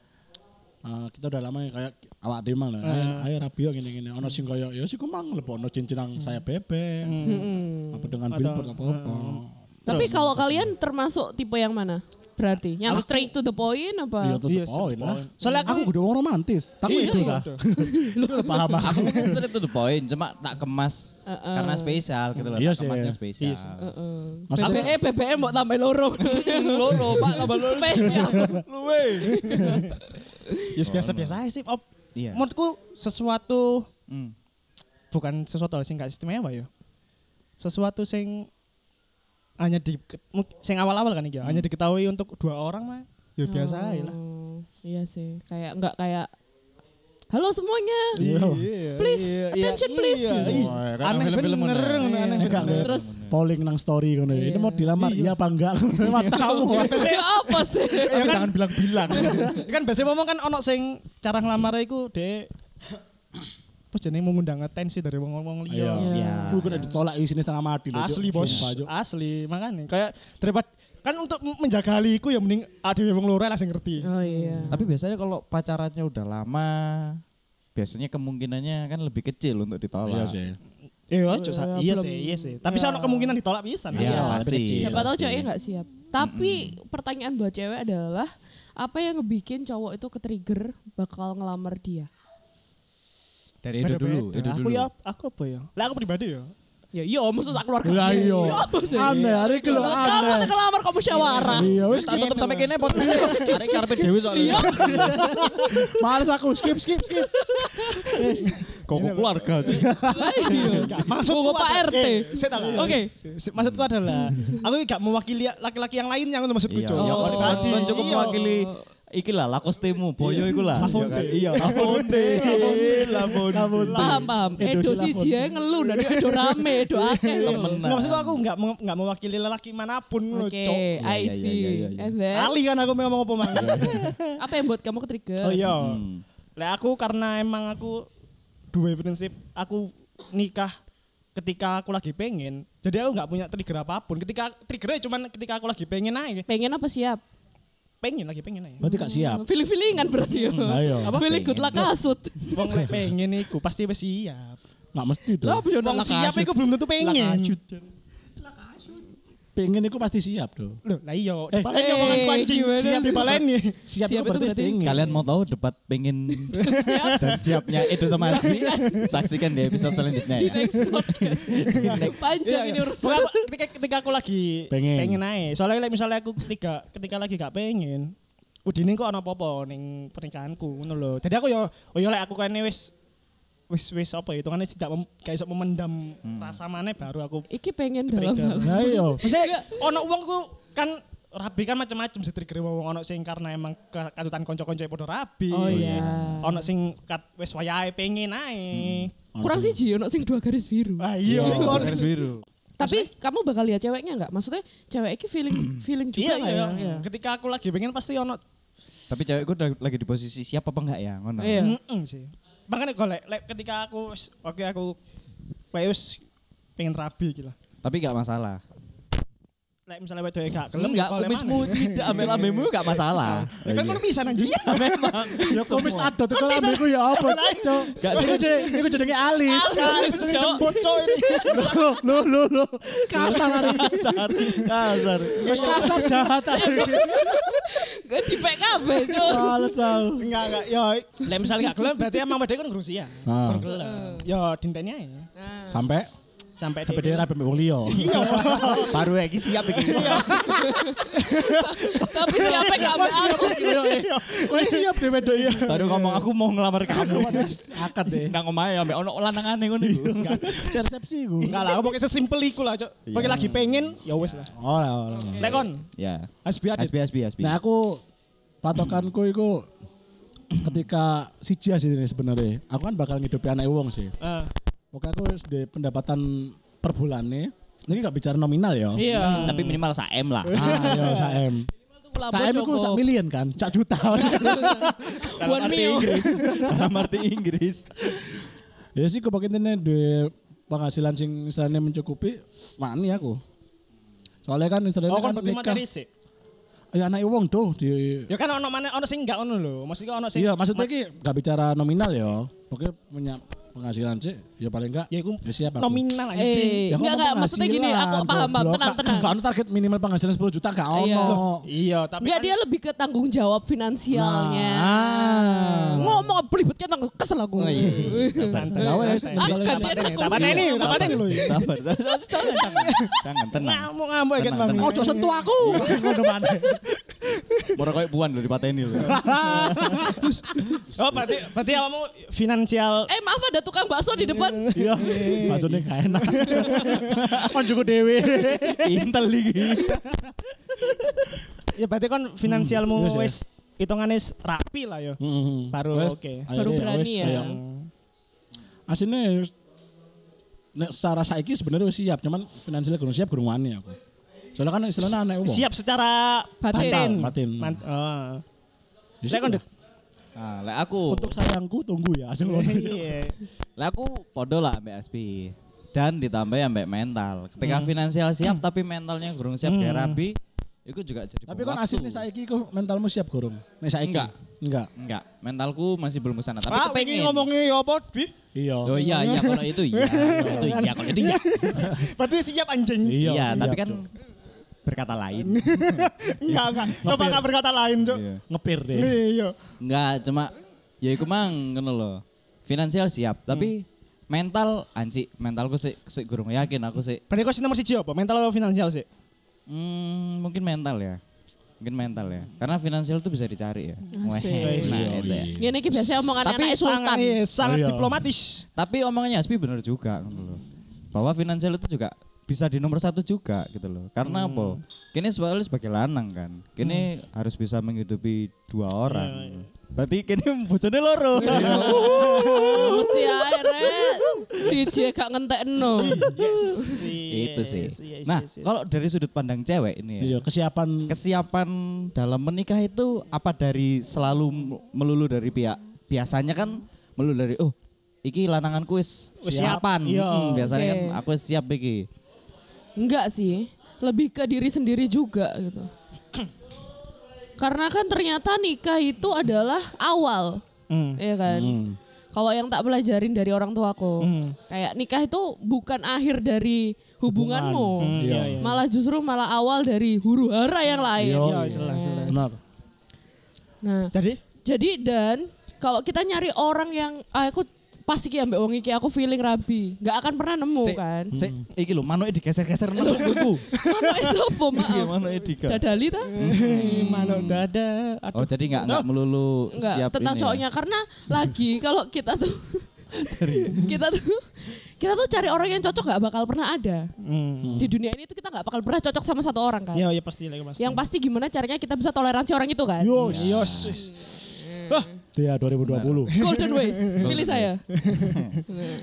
Speaker 3: eh, kita udah lama ya, kayak awak dhewe malah. Ayo, ayo rabi yo ngene-ngene. Ono sing kayak ya sik mang lebono cincin nang saya bebek. Apa dengan billboard apa apa.
Speaker 1: Tapi kalau kalian termasuk tipe yang mana? Berarti yang straight to the point
Speaker 3: Ya
Speaker 2: Iya.
Speaker 1: apa?
Speaker 3: tetep
Speaker 4: Yes,
Speaker 3: poin lah.
Speaker 4: Soalnya aku
Speaker 3: Aku udah orang romantis. Tapi itu lah. Lu paham aku.
Speaker 2: Aku mungkin straight to the point, cuma tak kemas karena spesial gitu loh. tak
Speaker 3: Iya sih.
Speaker 2: kemasnya spesial. Iya.
Speaker 1: Heeh.
Speaker 3: Maksudnya-
Speaker 1: Eh, BBM, BBM mau tambah lorong.
Speaker 2: Loro, Pak, tambah loro.
Speaker 1: Spesial.
Speaker 2: Luwe.
Speaker 4: ya biasa-biasa aja sih. Op,
Speaker 2: Iya.
Speaker 4: menurutku sesuatu
Speaker 2: Hmm.
Speaker 4: bukan sesuatu sing gak istimewa ya. Sesuatu sing hanya di mu- sing awal-awal kan iki ya, hanya diketahui untuk dua orang mah ya biasa aja lah.
Speaker 1: Oh, Iya sih, kayak nggak kayak halo semuanya.
Speaker 4: Iya.
Speaker 1: Please, attention please.
Speaker 4: Iya. iya.
Speaker 2: Wah, kan
Speaker 4: Aneh
Speaker 2: film-film
Speaker 4: bener,
Speaker 2: mana.
Speaker 1: Iya.
Speaker 4: ngono, aneh
Speaker 3: Enggak
Speaker 4: bener.
Speaker 1: Terus
Speaker 3: Polling nang story ngono. Ini mau dilamar iya apa enggak? Mata kamu.
Speaker 1: ya apa sih?
Speaker 4: Ya kan,
Speaker 2: Jangan bilang-bilang.
Speaker 4: kan biasanya ngomong kan ono sing cara ngelamar iku de apa jenenge mengundang atensi dari wong-wong
Speaker 3: Iya.
Speaker 4: liya.
Speaker 1: Iya.
Speaker 3: Lu kena ditolak isinya setengah mati loh. Cuk.
Speaker 4: Asli bos,
Speaker 3: Iya. Sumpah, Cuk.
Speaker 4: asli makanya kayak daripada kan untuk m- menjaga haliku ya mending ada wong lora langsung ngerti.
Speaker 1: Oh iya.
Speaker 2: Tapi biasanya kalau pacarannya udah lama, biasanya kemungkinannya kan lebih kecil untuk ditolak.
Speaker 3: Iya sih.
Speaker 4: Iya, cuk, sa-
Speaker 1: Eh,
Speaker 4: iya
Speaker 1: belum-
Speaker 4: sih, iya sih. Tapi
Speaker 1: iya.
Speaker 4: saya ono kemungkinan ditolak pisan.
Speaker 2: Iya,
Speaker 1: Iya,
Speaker 2: pasti.
Speaker 3: lebih kecil.
Speaker 1: Siapa tahu
Speaker 2: pasti.
Speaker 1: ceweknya nggak siap. Tapi pertanyaan buat cewek adalah apa yang ngebikin cowok itu ke-trigger bakal ngelamar dia?
Speaker 2: Dari itu dulu,
Speaker 4: Beda-beda.
Speaker 2: itu
Speaker 4: Aku
Speaker 2: dulu.
Speaker 4: ya, aku apa ya? Lah aku pribadi ya.
Speaker 1: Ya iya, maksud aku keluarga.
Speaker 3: Lah iya.
Speaker 1: Ya apa sih?
Speaker 3: Aneh hari iki lho
Speaker 1: Kamu
Speaker 3: aneh.
Speaker 1: tuh ngelamar kamu musyawarah.
Speaker 3: Iya wis
Speaker 2: Tak tutup sampai kene pot. Tarik karpet dewi soalnya.
Speaker 3: males aku skip skip skip. Wis.
Speaker 2: Kok keluarga sih? Iya.
Speaker 4: Enggak, Maksudku
Speaker 1: Oh, Bapak
Speaker 4: ada-
Speaker 1: RT.
Speaker 4: eh, saya tahu.
Speaker 1: Oke.
Speaker 4: Si- Maksudku adalah aku nggak mewakili laki-laki yang lainnya ngono maksudku,
Speaker 2: Hmm. Iya,
Speaker 4: Cuk.
Speaker 2: ya
Speaker 1: Oh.
Speaker 2: kan
Speaker 1: pribadi.
Speaker 2: kan cukup
Speaker 4: Iya.
Speaker 2: mewakili iki lah lakostemu, boyo iku lah.
Speaker 4: Lafonte.
Speaker 2: Iya, kan? Iya, Lafonte. Lafonte.
Speaker 1: Paham, paham.
Speaker 3: Edo
Speaker 1: Edo
Speaker 3: silafon.
Speaker 1: siji ae nelu dan Edo rame, Edo akeh. loh.
Speaker 4: Enggak maksudku aku enggak enggak mewakili lelaki manapun ngono,
Speaker 1: Oke,
Speaker 4: Cuk.
Speaker 1: I
Speaker 2: Iya, iya, iya,
Speaker 1: see.
Speaker 2: iya, iya.
Speaker 1: And then,
Speaker 4: Ali kan aku memang apa mang.
Speaker 1: apa yang buat kamu ke-trigger?
Speaker 4: Oh iya.
Speaker 1: hmm.
Speaker 4: Lah aku karena emang aku dua prinsip aku nikah ketika aku lagi pengen. Jadi aku nggak punya trigger apapun. Ketika triggernya cuman ketika aku lagi pengen aja.
Speaker 1: Pengen apa siap?
Speaker 4: Pengen lagi pengen aja.
Speaker 3: Berarti gak siap.
Speaker 1: Feeling-feelingan berarti. ya.
Speaker 3: ayo.
Speaker 1: Apa feeling good lah kasut.
Speaker 4: Wong lek pengen iku pasti wis siap.
Speaker 3: Gak mesti tuh.
Speaker 4: Wong siap iku belum tentu pengen.
Speaker 3: Pengen iku pasti siap tuh.
Speaker 4: Loh, lah iya, dibaleni
Speaker 1: Eh,
Speaker 4: omongan ya. anjing.
Speaker 1: gimana
Speaker 4: Siap
Speaker 1: itu?
Speaker 4: dibaleni.
Speaker 3: Siap,
Speaker 1: Siap
Speaker 3: itu berarti pengen.
Speaker 2: Kalian mau tahu debat pengen dan siapnya Edo sama Asmi? Saksikan di episode
Speaker 1: Di
Speaker 2: selanjutnya ya.
Speaker 1: next podcast. Panjang ini urusan.
Speaker 4: Iya, Pokoknya aku- ketika, ketika aku lagi
Speaker 3: Pengen.
Speaker 4: pengen, aja. Soalnya like, misalnya aku ketika ketika lagi gak pengen, udine kok ana apa-apa ning pernikahanku ngono lho. Jadi aku yo oh yo lek aku kene wis wis wis apa ya hitungane tidak mem, gak iso memendam rasa maneh baru aku.
Speaker 1: Iki pengen dalam hal.
Speaker 4: Trigger.
Speaker 3: Nah iya.
Speaker 4: Maksudnya ono wong ku kan rabi kan macam-macam sih trigger wong ono sing karena emang ke- katutan kanca-kanca yang padha rabi.
Speaker 1: Oh iya.
Speaker 4: Ono sing kat wis wayahe pengen ae.
Speaker 1: Kurang siji ono sing dua garis biru.
Speaker 4: Wah iya iku ono sing
Speaker 2: garis biru.
Speaker 1: Tapi kamu bakal lihat ceweknya nggak? Maksudnya cewek ini feeling feeling
Speaker 4: Iya,
Speaker 1: juga nggak
Speaker 4: iya,
Speaker 1: ya?
Speaker 4: iya. Ketika aku lagi pengen pasti ono
Speaker 2: Tapi cewek gue lagi di posisi siap apa enggak ya ngono.
Speaker 1: Iya.
Speaker 4: Mm-mm sih. Makanya gue lek lek ketika aku wis- oke aku kayak wis pengen rabi gitu.
Speaker 2: Tapi enggak masalah.
Speaker 4: Lek misalnya wedok gak gelem
Speaker 2: Enggak
Speaker 4: ya,
Speaker 2: kumismu tidak ambil ambemu enggak masalah.
Speaker 4: Ya kan kono bisa anjing. Iya memang.
Speaker 3: Ya komis adat kok lambeku ya apa, Cok?
Speaker 2: Gak
Speaker 3: Iku jenenge iku jenenge alis.
Speaker 4: Jembut coy.
Speaker 3: Loh, Loh, loh, loh. Kasar hari ini.
Speaker 2: kasar, kasar.
Speaker 3: Wis kasar jahat hari ini.
Speaker 1: Gak di PKB tuh.
Speaker 3: Males aku.
Speaker 4: Enggak enggak ya lek misalnya gak gelem berarti emang wedok kan ngurusi ya.
Speaker 3: Ah.
Speaker 4: Kon gelem. Ya dinteni ae.
Speaker 3: Sampai
Speaker 4: Sampai
Speaker 3: sampai dia rapi mbek wong liya.
Speaker 2: Baru lagi siap iki.
Speaker 1: Tapi siapa gak ambil aku?
Speaker 3: Kowe siap deh wedok iki.
Speaker 2: Baru ngomong aku mau ngelamar kamu.
Speaker 3: iya. Akad deh.
Speaker 2: Nang omahe ambek ono lanangane ngono iku.
Speaker 3: Persepsi iku.
Speaker 4: Enggak lah, pokoknya sesimpel iku lah, Cok. Pokoknya lagi pengen, ya wes lah.
Speaker 3: Ora, ora.
Speaker 4: Lek kon,
Speaker 2: Ya.
Speaker 4: hasbi adit.
Speaker 2: Asbi asbi asbi.
Speaker 3: Nah
Speaker 4: Iya.
Speaker 3: aku patokanku itu ketika siji sih ini sebenarnya. Aku kan bakal ngidupi anak wong sih.
Speaker 4: Eh,
Speaker 3: Pokoknya aku harus di pendapatan per bulannya. Ini gak bicara nominal ya.
Speaker 1: Iya.
Speaker 2: Tapi minimal 1 M lah.
Speaker 3: Ah, iya, sak M. Sak M itu sak million kan, sak juta.
Speaker 4: Iya.
Speaker 2: Dalam arti
Speaker 1: mil.
Speaker 2: Inggris. Dalam arti Inggris.
Speaker 3: ya sih aku pakai ini duwe penghasilan sing istilahnya mencukupi, wani aku. Soalnya kan istilahnya
Speaker 4: Oh, kon
Speaker 3: kan
Speaker 4: penting
Speaker 3: nikah.
Speaker 4: materi sih.
Speaker 3: Ya anak wong tuh di
Speaker 4: Ya kan ono mana ono sing enggak ono lho. Maksudnya ono sing
Speaker 3: Iya, maksudnya ki gak bicara nominal ya. Pokoknya punya penghasilan sih, ya paling enggak.
Speaker 4: ya iku
Speaker 3: Ya siap aku.
Speaker 4: nominal anjing.
Speaker 1: Eh,
Speaker 3: Ya,
Speaker 1: enggak enggak maksudnya gini, aku paham, paham, tenang, tenang.
Speaker 3: Gak ada anu target minimal penghasilan 10 juta, gak ono.
Speaker 1: Iya.
Speaker 4: Iya, tapi
Speaker 1: Enggak
Speaker 4: kan-
Speaker 1: dia lebih ke tanggung jawab finansialnya.
Speaker 3: Ah.
Speaker 1: Ngomong belibet kan aku kesel aku.
Speaker 2: Nah. Oh, iya. Sabar.
Speaker 4: santai.
Speaker 3: Lah, wes,
Speaker 4: santai.
Speaker 3: misalnya
Speaker 4: Tak
Speaker 1: gantian aku
Speaker 4: pateni, tak pateni,
Speaker 1: sih.
Speaker 4: tak pateni lho.
Speaker 2: Sabar. Jangan, jangan. Jangan tenang.
Speaker 4: Ngamuk-ngamuk ya kan
Speaker 2: Tenang,
Speaker 4: Bang.
Speaker 2: tenang.
Speaker 3: Ojo sentuh aku. Ngono maneh.
Speaker 2: Moro koyo buan lho dipateni lho.
Speaker 4: Oh, berarti berarti awakmu finansial
Speaker 1: Eh maaf ada tukang bakso di depan.
Speaker 3: Iya. Maksudnya gak enak. Kon juga dewe.
Speaker 2: Intel iki.
Speaker 4: ya berarti kon finansialmu
Speaker 3: Iya sih.
Speaker 4: wis hitungannya s- rapi lah yo.
Speaker 3: Hmm, Mhm.
Speaker 4: Baru oke.
Speaker 1: Baru berani ya.
Speaker 3: Aslinya nek secara saiki sebenarnya wis siap, cuman finansialnya kurang siap, kurang wani aku. Soalnya kan istilahnya anak wong.
Speaker 4: Siap secara
Speaker 1: Batin.
Speaker 4: batin.
Speaker 3: Batin.
Speaker 4: Man- oh.
Speaker 3: Ya,
Speaker 4: Saya kan kon
Speaker 3: siap.
Speaker 2: Nah, lek aku,
Speaker 3: Untuk sayangku tunggu ya. Asli ngono.
Speaker 4: Iya.
Speaker 2: lek aku podo lah ambek Asbi. Dan ditambah ambek mental. Ketika finansial siap tapi mentalnya kurang siap kayak Rabi, itu juga jadi
Speaker 3: Tapi kan
Speaker 2: pembantu.
Speaker 3: aslinya saiki kok mentalmu siap gorong. Nek saiki
Speaker 2: Enggak.
Speaker 3: Enggak.
Speaker 2: Enggak, mentalku masih belum kesana. Tapi
Speaker 4: Pak,
Speaker 2: kepengen.
Speaker 4: ini ngomongnya ya apa, Dwi?
Speaker 3: Iya.
Speaker 2: Oh iya, iya kalau itu iya, kalau itu iya, kalau itu iya.
Speaker 4: Berarti siap anjing.
Speaker 2: Iya,
Speaker 3: siap,
Speaker 2: tapi kan
Speaker 3: Cuk.
Speaker 2: berkata lain.
Speaker 4: Enggak, enggak. Coba enggak berkata lain, Cok.
Speaker 2: Iya.
Speaker 3: ngepir deh.
Speaker 4: Iya.
Speaker 2: Enggak, cuma ya iku mang ngono lho. Finansial siap, tapi mental anci, mentalku sik sik gurung yakin aku sik.
Speaker 4: Berarti kau sih nomor siji apa? Mental atau finansial sih?
Speaker 2: Hmm, mungkin mental ya. Mungkin mental ya. Karena finansial tuh bisa dicari ya. Weh,
Speaker 1: Asik.
Speaker 2: nah, itu ya.
Speaker 1: Ini ki biasanya omongan anak
Speaker 4: sangat,
Speaker 1: sultan.
Speaker 4: iya, sangat
Speaker 3: Iya.
Speaker 4: diplomatis.
Speaker 2: Tapi omongannya Aspi bener juga ngono lho. Bahwa finansial itu juga bisa di nomor satu juga gitu loh. Karena apa? Kini soalnya sebagai lanang kan. Kini harus bisa menghidupi dua orang. Berarti kini bojone loro.
Speaker 1: Ah, Mesti akhirnya siji gak ngentekno.
Speaker 4: Yes. yes,
Speaker 2: itu sih.
Speaker 4: yes, yes,
Speaker 2: nah,
Speaker 4: yes, yes.
Speaker 2: kalau dari sudut pandang cewek ini ya.
Speaker 3: Iya, kesiapan
Speaker 2: Kesiapan dalam menikah itu apa dari selalu m- melulu dari pihak biasanya kan melulu dari oh iki lananganku wis
Speaker 4: Wis siap,
Speaker 2: siapan.
Speaker 4: iya.
Speaker 2: Mm, biasanya
Speaker 1: Oke.
Speaker 2: kan aku wis siap iki.
Speaker 1: Enggak sih, lebih ke diri sendiri juga gitu. Karena kan ternyata nikah itu adalah awal,
Speaker 4: Hmm.
Speaker 1: ya kan? Kalau yang tak pelajarin dari orang tuaku,
Speaker 4: Hmm.
Speaker 1: kayak nikah itu bukan akhir dari hubunganmu,
Speaker 4: Hmm,
Speaker 3: Iya.
Speaker 4: Iya, iya.
Speaker 1: malah justru malah awal dari huru hara yang lain.
Speaker 3: Iya,
Speaker 4: Iya, jelas, jelas.
Speaker 3: benar.
Speaker 1: Nah,
Speaker 4: Jadi,
Speaker 1: jadi dan kalau kita nyari orang yang "Ah, aku pasti ki ambek wong iki aku feeling rabi, nggak akan pernah nemu
Speaker 2: Sik,
Speaker 1: kan.
Speaker 2: sik, iki lho manuke digeser-geser nang kuku.
Speaker 1: Ono sopo
Speaker 2: Iya,
Speaker 1: maaf.
Speaker 2: manuke diga.
Speaker 1: Dadali ta?
Speaker 4: Hmm.
Speaker 1: Hmm.
Speaker 4: mana dada,
Speaker 2: Oh,
Speaker 4: aduh. Nah.
Speaker 2: jadi enggak enggak melulu
Speaker 1: Enggak,
Speaker 2: siap
Speaker 1: tentang
Speaker 2: ini ya?
Speaker 1: cowoknya karena lagi kalau kita tuh kita tuh kita tuh cari orang yang cocok nggak bakal pernah ada
Speaker 4: Hmm.
Speaker 1: di dunia ini tuh kita nggak bakal pernah cocok sama satu orang kan
Speaker 4: Ya ya pasti lah pasti.
Speaker 1: yang pasti gimana caranya kita bisa toleransi orang itu kan
Speaker 4: Yos, yos.
Speaker 3: Dia 2020.
Speaker 1: golden ways pilih
Speaker 2: ways.
Speaker 1: saya Nah,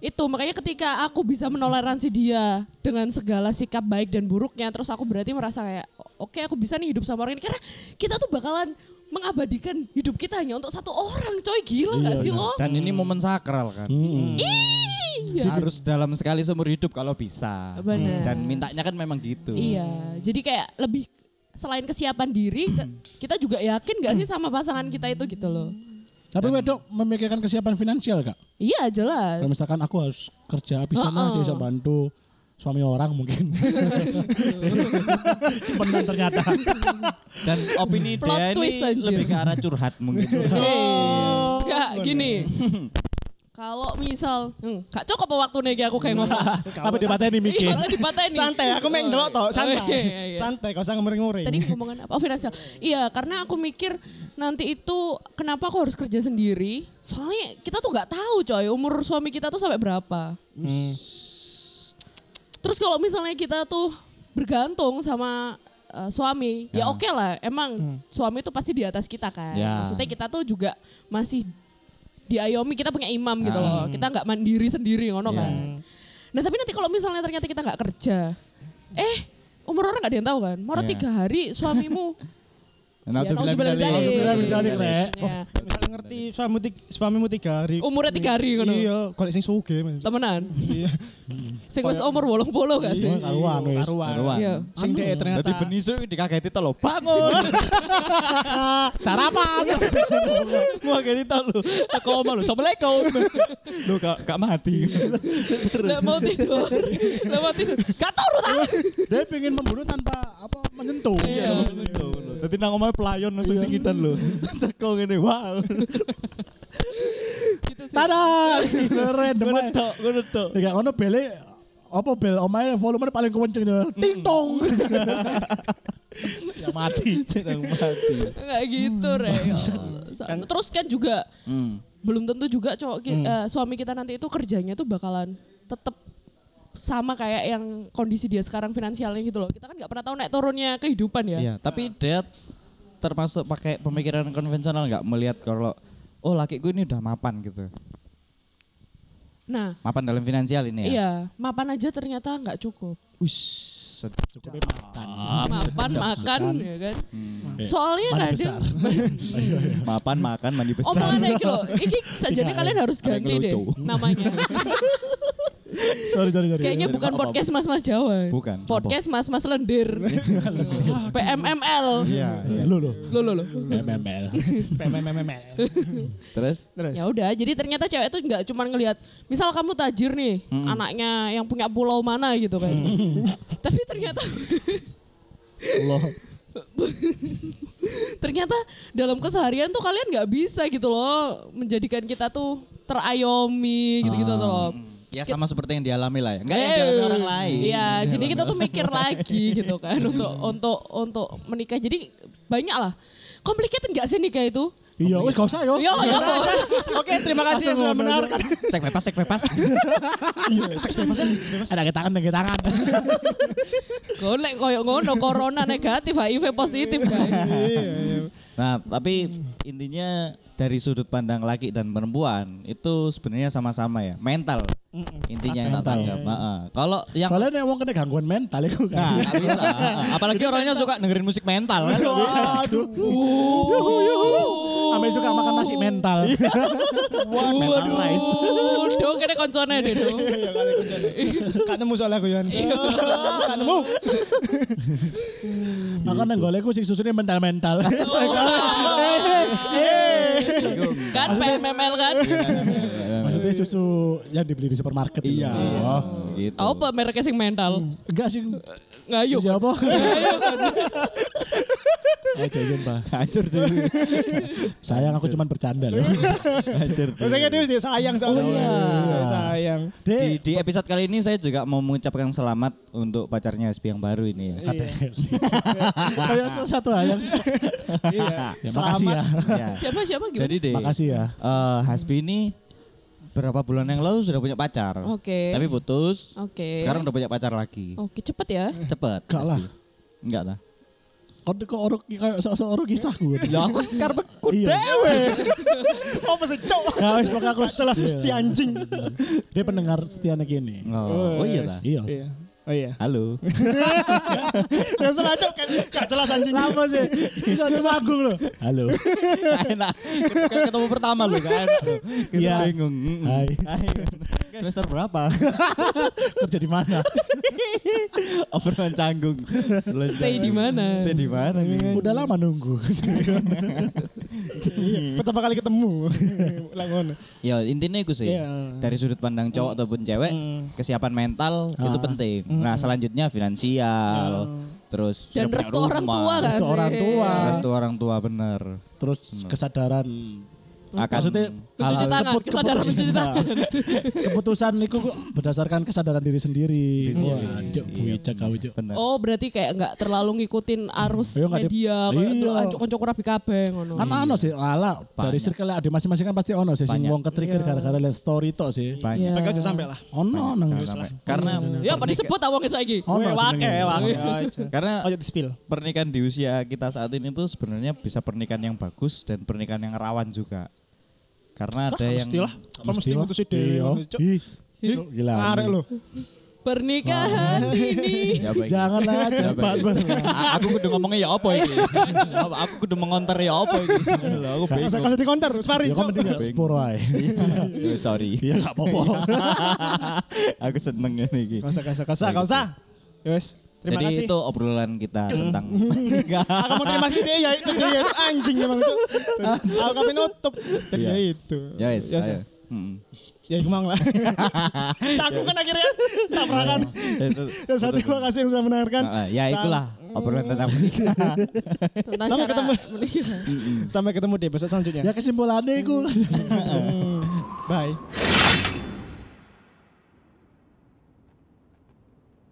Speaker 1: itu makanya ketika aku bisa menoleransi dia dengan segala sikap baik dan buruknya terus aku berarti merasa kayak oke aku bisa nih hidup sama orang ini karena kita tuh bakalan mengabadikan hidup kita hanya untuk satu orang coy gila nggak
Speaker 3: Iya,
Speaker 1: sih
Speaker 3: iya.
Speaker 1: lo
Speaker 2: Dan ini momen sakral kan.
Speaker 3: Hmm.
Speaker 1: Iya.
Speaker 2: Harus dalam sekali seumur hidup kalau bisa.
Speaker 1: Benar.
Speaker 2: Dan mintanya kan memang gitu.
Speaker 1: Iya, jadi kayak lebih selain kesiapan diri, ke- kita juga yakin gak sih sama pasangan kita itu gitu loh.
Speaker 3: Tapi wedok memikirkan kesiapan finansial kak.
Speaker 1: Iya
Speaker 3: Kalau
Speaker 1: jelas.
Speaker 3: misalkan aku harus kerja bisa
Speaker 1: Heeh.
Speaker 3: mah bisa bantu suami orang mungkin. Simpenan ternyata.
Speaker 2: Dan opini
Speaker 1: Plot
Speaker 2: dia ini
Speaker 1: twist, anjir. Iya.
Speaker 2: lebih ke arah curhat mungkin.
Speaker 4: Iya.
Speaker 1: Hei, Nggak, gini. Kalau misal, hmm, gak cukup waktu nih aku kayak ngomong.
Speaker 3: Tapi dia patah ini mikir.
Speaker 1: Iya, tadi patahin nih.
Speaker 4: Nah, Santai, aku main ngelok tok,
Speaker 1: Oh, iya, iya,
Speaker 4: santai.
Speaker 1: iya.
Speaker 4: Santai, kau usah ngemering-ngemering.
Speaker 1: Tadi ngomongan apa? Oh finansial. Iya, karena aku mikir nanti itu kenapa aku harus kerja sendiri? Soalnya kita tuh nggak tahu coy umur suami kita tuh sampai berapa.
Speaker 2: Hmm.
Speaker 1: Terus kalau misalnya kita tuh bergantung sama uh, suami, ya, oke lah. Emang suami itu pasti di atas kita kan.
Speaker 2: Hmm. Ya.
Speaker 1: Maksudnya kita tuh juga masih diayomi kita punya imam gitu
Speaker 2: Ah.
Speaker 1: loh. Kita nggak mandiri sendiri ngono
Speaker 2: Ya.
Speaker 1: kan. Nah tapi nanti kalau misalnya ternyata kita nggak kerja, eh umur orang nggak ada yang tahu kan. Mau
Speaker 2: Ya.
Speaker 1: tiga hari suamimu
Speaker 2: Nah,
Speaker 1: Ya, nauzubillah
Speaker 3: Langsung bilang
Speaker 2: iya,
Speaker 3: balik rek.
Speaker 1: ya,
Speaker 4: Misalnya ngerti suamimu tiga, suamimu tiga hari.
Speaker 1: umurnya tiga hari ngono.
Speaker 4: Iya, golek sing sugih. Mas.
Speaker 1: Temenan. Sing wis umur wolong puluh gak sih?
Speaker 3: Iya, karuan wis.
Speaker 4: Karuan.
Speaker 2: Karuan.
Speaker 1: Iya.
Speaker 4: Sing dhek ternyata.
Speaker 2: Tadi benisu dikageti to lho, bangun.
Speaker 3: Sarapan.
Speaker 2: Gua kaget tau lu. Teko omah lu. Assalamualaikum. Lu gak gak mati.
Speaker 1: Lah mau tidur. Lah mau tidur. Gak tau lu tau.
Speaker 3: dia pengen membunuh tanpa apa menyentuh.
Speaker 1: Iya.
Speaker 2: Tadi nang omah pelayon langsung singitan lu. Teko ngene wah.
Speaker 3: Tada. Random.
Speaker 2: Gue
Speaker 3: aja.
Speaker 2: netok, gue netok.
Speaker 3: Tiga ono bele apa bel omae volume paling kenceng ya. Ting tong.
Speaker 2: Ya mati. Nang mati.
Speaker 1: Enggak gitu, Re. Ya Allah. Sa- Terus kan juga
Speaker 2: Hmm.
Speaker 1: belum tentu juga cowok ki- eh, suami kita nanti itu kerjanya tuh bakalan tetap sama kayak yang kondisi dia sekarang finansialnya gitu loh. Kita kan nggak pernah tahu naik turunnya kehidupan ya.
Speaker 2: Iya, tapi dia termasuk pakai pemikiran konvensional nggak melihat kalau oh laki gue ini udah mapan gitu.
Speaker 1: Nah,
Speaker 2: Mapan dalam finansial ini ya.
Speaker 1: iya, mapan aja ternyata nggak cukup.
Speaker 2: Ush, sedap.
Speaker 1: Ah.
Speaker 3: Kan.
Speaker 1: mapan makan ya kan.
Speaker 2: Iya.
Speaker 1: Soalnya
Speaker 3: Mandi
Speaker 1: kadang
Speaker 2: Hmm.
Speaker 3: Iya,
Speaker 2: Mapan makan mandi
Speaker 1: Oh,
Speaker 2: besar.
Speaker 1: omongan iki gitu loh, iki sajane kalian harus
Speaker 2: Ada yang
Speaker 1: ganti deh
Speaker 2: ngelucu.
Speaker 1: namanya.
Speaker 3: Sorry sorry sorry.
Speaker 1: Kayaknya
Speaker 2: Dari
Speaker 1: bukan
Speaker 2: mana,
Speaker 1: podcast mas-mas Jawa. ya?
Speaker 2: Bukan.
Speaker 1: Podcast mas-mas lendir. PMML.
Speaker 2: Iya, iya.
Speaker 3: Lu lu.
Speaker 1: Lo lo lo.
Speaker 3: Memel.
Speaker 4: Mememememem.
Speaker 2: Terus
Speaker 4: Terus.
Speaker 1: Ya udah, jadi ternyata cewek itu nggak cuma ngelihat, misal kamu tajir nih, anaknya yang punya pulau mana gitu kan. Tapi ternyata
Speaker 3: Allah.
Speaker 1: ternyata dalam keseharian tuh kalian nggak bisa gitu loh menjadikan kita tuh terayomi gitu-gitu tuh loh.
Speaker 2: Ya sama seperti yang dialami lah ya. Enggak yang dialami
Speaker 1: Eh,
Speaker 2: orang lain.
Speaker 1: Iya, jadi kita tuh mikir lagi gitu kan untuk untuk untuk menikah. Jadi banyak lah. Complicated nggak sih nikah itu?
Speaker 3: Iya, wes gak usah yo.
Speaker 1: Yo, yo.
Speaker 4: Oke, terima kasih yang sudah menawarkan.
Speaker 2: Sek bebas, sek bebas.
Speaker 3: Iya, seks bebas kan. Ada getangan, ada getangan.
Speaker 1: Golek koyo ngono corona negatif, HIV positif guys.
Speaker 2: Nah, tapi intinya dari sudut pandang laki dan perempuan itu sebenarnya sama-sama ya, mental. Intinya yang tak
Speaker 3: Mental.
Speaker 2: tangkap. Heeh. Kalau yang
Speaker 3: Soalnya nih wong kena gangguan mental itu
Speaker 2: Nah,
Speaker 3: kan.
Speaker 2: nggak bisa. Heeh. apalagi orangnya suka dengerin musik mental. kan?
Speaker 3: Aduh. Yuhu, yuhu. Sampai Iya. suka makan nasi
Speaker 2: Oh.
Speaker 3: mental.
Speaker 2: Iya. Mental rice.
Speaker 1: Waduh, dong kene koncone deh dong.
Speaker 4: Kak nemu soalnya guyon.
Speaker 1: Iya.
Speaker 4: Kak nemu.
Speaker 3: Makan nang goleku sing susunya mental-mental.
Speaker 2: Oh.
Speaker 1: Oh,
Speaker 2: Bingung.
Speaker 1: iya. Kan PMML kan?
Speaker 3: Maksudnya susu yang dibeli di supermarket. itu.
Speaker 2: Iya.
Speaker 3: Oh.
Speaker 2: Gitu.
Speaker 1: Apa mereknya sing mental?
Speaker 3: Enggak sih.
Speaker 1: Ngayu.
Speaker 3: Hmm. Siapa? Ayo jom, Pak.
Speaker 2: Hancur dulu.
Speaker 3: Sayang aku cuma bercanda loh.
Speaker 2: Hancur dulu.
Speaker 4: Biasanya dia dia sayang soalnya.
Speaker 2: Oh, iya.
Speaker 4: Dia Sayang.
Speaker 2: Di,
Speaker 3: Dek.
Speaker 2: di episode kali ini saya juga mau mengucapkan selamat untuk pacarnya SP yang baru ini ya.
Speaker 3: Kayak sesuatu hal yang.
Speaker 4: Iya.
Speaker 3: Ya, makasih ya.
Speaker 2: Ya.
Speaker 1: Siapa siapa gimana?
Speaker 2: Jadi deh,
Speaker 3: Makasih ya.
Speaker 2: eh, Hasbi ini berapa bulan yang lalu sudah punya pacar.
Speaker 1: Oke.
Speaker 2: Tapi putus.
Speaker 1: Oke.
Speaker 2: Sekarang udah punya pacar lagi.
Speaker 1: Oke, cepet ya.
Speaker 2: Cepet.
Speaker 3: Gak lah.
Speaker 2: Enggak lah.
Speaker 3: Kau kok orang kayak sok-sok orang kisahku.
Speaker 2: Ya aku karepku
Speaker 3: Iya.
Speaker 2: dewe.
Speaker 4: Apa sih cok?
Speaker 3: Nah, wis pokoknya aku iya.
Speaker 4: Gak jelas mesti anjing.
Speaker 3: Dia pendengar setianya gini.
Speaker 2: Oh, oh iya lah.
Speaker 3: Iya.
Speaker 4: Iya. Oh iya.
Speaker 2: Halo.
Speaker 4: Gak salah cok kan gak jelas anjing.
Speaker 3: Lama sih. Bisa canggung loh. Halo.
Speaker 2: Gak enak. Kayak ketemu pertama lu kan. Kita
Speaker 3: Iya.
Speaker 2: bingung. Mm-mm.
Speaker 3: Hai.
Speaker 2: Hai. Semester berapa?
Speaker 3: Kerja di mana?
Speaker 2: Obrolan canggung. Obrolan
Speaker 1: Stay
Speaker 2: canggung.
Speaker 1: di mana?
Speaker 2: Stay di mana nih?
Speaker 3: Udah lama nunggu.
Speaker 4: Pertama kali ketemu. Lah ngono.
Speaker 2: Ya intinya itu sih.
Speaker 4: Iya.
Speaker 2: Dari sudut pandang cowok ataupun cewek,
Speaker 4: Mm.
Speaker 2: kesiapan mental itu
Speaker 3: Ah.
Speaker 2: penting. Nah selanjutnya finansial, terus
Speaker 1: Dan
Speaker 2: sudah punya
Speaker 1: restu orang
Speaker 2: rumah.
Speaker 1: tua kan
Speaker 3: Restu
Speaker 1: sih?
Speaker 3: orang tua.
Speaker 2: Restu orang tua bener.
Speaker 3: Terus kesadaran
Speaker 2: Akan
Speaker 1: Mencuci
Speaker 3: Maksudnya
Speaker 2: Nah. Hmm. hal-hal
Speaker 1: tangan,
Speaker 3: keput-
Speaker 1: kesadaran
Speaker 3: keputusan.
Speaker 1: mencuci tangan.
Speaker 3: keputusan itu berdasarkan kesadaran diri sendiri.
Speaker 2: Diri
Speaker 3: Wah,
Speaker 2: sendiri. Iya.
Speaker 3: Cuk, buicak kau, Cuk.
Speaker 2: bener.
Speaker 1: Oh berarti kayak nggak terlalu ngikutin arus
Speaker 3: Iya, nggak di-
Speaker 1: media, kayak
Speaker 3: Iya.
Speaker 1: terus ancuk kancuk rapi kabeh ngono.
Speaker 3: Kan ono sih, ala dari
Speaker 2: Banyak.
Speaker 3: circle ada masing-masing kan pasti ono sih sing
Speaker 2: Banyak.
Speaker 3: wong ketrigger
Speaker 1: Iya.
Speaker 3: gara-gara lihat story tok sih.
Speaker 2: Banyak.
Speaker 4: Pakai aja sampai lah.
Speaker 3: Ono nang
Speaker 2: Jangan sampai. Karena
Speaker 1: Ya apa disebut awalnya saiki?
Speaker 2: Oh,
Speaker 3: Ono
Speaker 4: Weh, wake
Speaker 3: jenenge.
Speaker 4: wake.
Speaker 2: iya,
Speaker 4: aja.
Speaker 2: karena
Speaker 4: Ojo di spill.
Speaker 2: pernikahan di usia kita saat ini tuh sebenarnya bisa pernikahan yang bagus dan pernikahan yang rawan juga. Karena ada yang
Speaker 4: Mestilah. Apa mesti
Speaker 3: Mestilah.
Speaker 4: mutusin dhewe
Speaker 3: Iya.
Speaker 4: ngono, cok.
Speaker 3: Ih, Cuk,
Speaker 2: Iya.
Speaker 3: Gila.
Speaker 4: Arek lo.
Speaker 1: Pernikahan ini.
Speaker 2: Ya, baik.
Speaker 3: Janganlah cepat
Speaker 2: baik.
Speaker 3: ber-
Speaker 2: A- aku kudu ngomongnya ya apa ini? Apa- aku kudu mengonter ya apa ini? Lho, aku
Speaker 4: Masa
Speaker 2: bingung.
Speaker 4: kasih di konter, Sari.
Speaker 3: Ya kan mending
Speaker 4: Cok.
Speaker 3: gak sepuro ae.
Speaker 2: Iya, sorry.
Speaker 3: Ya gak apa-apa.
Speaker 2: Iya. aku seneng ya iki.
Speaker 4: Gak usah, gak usah, gak usah, gak usah. Ya wes,
Speaker 2: Iya.
Speaker 4: terima
Speaker 2: Jadi
Speaker 4: kasih. Iya.
Speaker 2: itu obrolan kita tentang pernikahan.
Speaker 4: Aku mau terima kasih dia ya itu dia anjing emang itu. Aku kami nutup. Jadi
Speaker 2: Iya.
Speaker 4: ya itu.
Speaker 2: ya wes,
Speaker 4: Ya,
Speaker 2: ayo.
Speaker 4: Sa.
Speaker 2: Mm-mm.
Speaker 4: Ya kemang lah. Canggung kan akhirnya tabrakan.
Speaker 2: Itu-
Speaker 4: Ya satu kan. terima kasih sudah mendengarkan.
Speaker 2: Iya, Ah, ah, Ya itulah obrolan tentang pernikahan.
Speaker 1: Tentang
Speaker 4: Sampai
Speaker 1: cara
Speaker 4: ketemu.
Speaker 1: menikah.
Speaker 2: Ya kan? Hmm.
Speaker 4: Sampai ketemu di episode selanjutnya.
Speaker 3: Ya kesimpulannya iku.
Speaker 4: Hmm. Bye.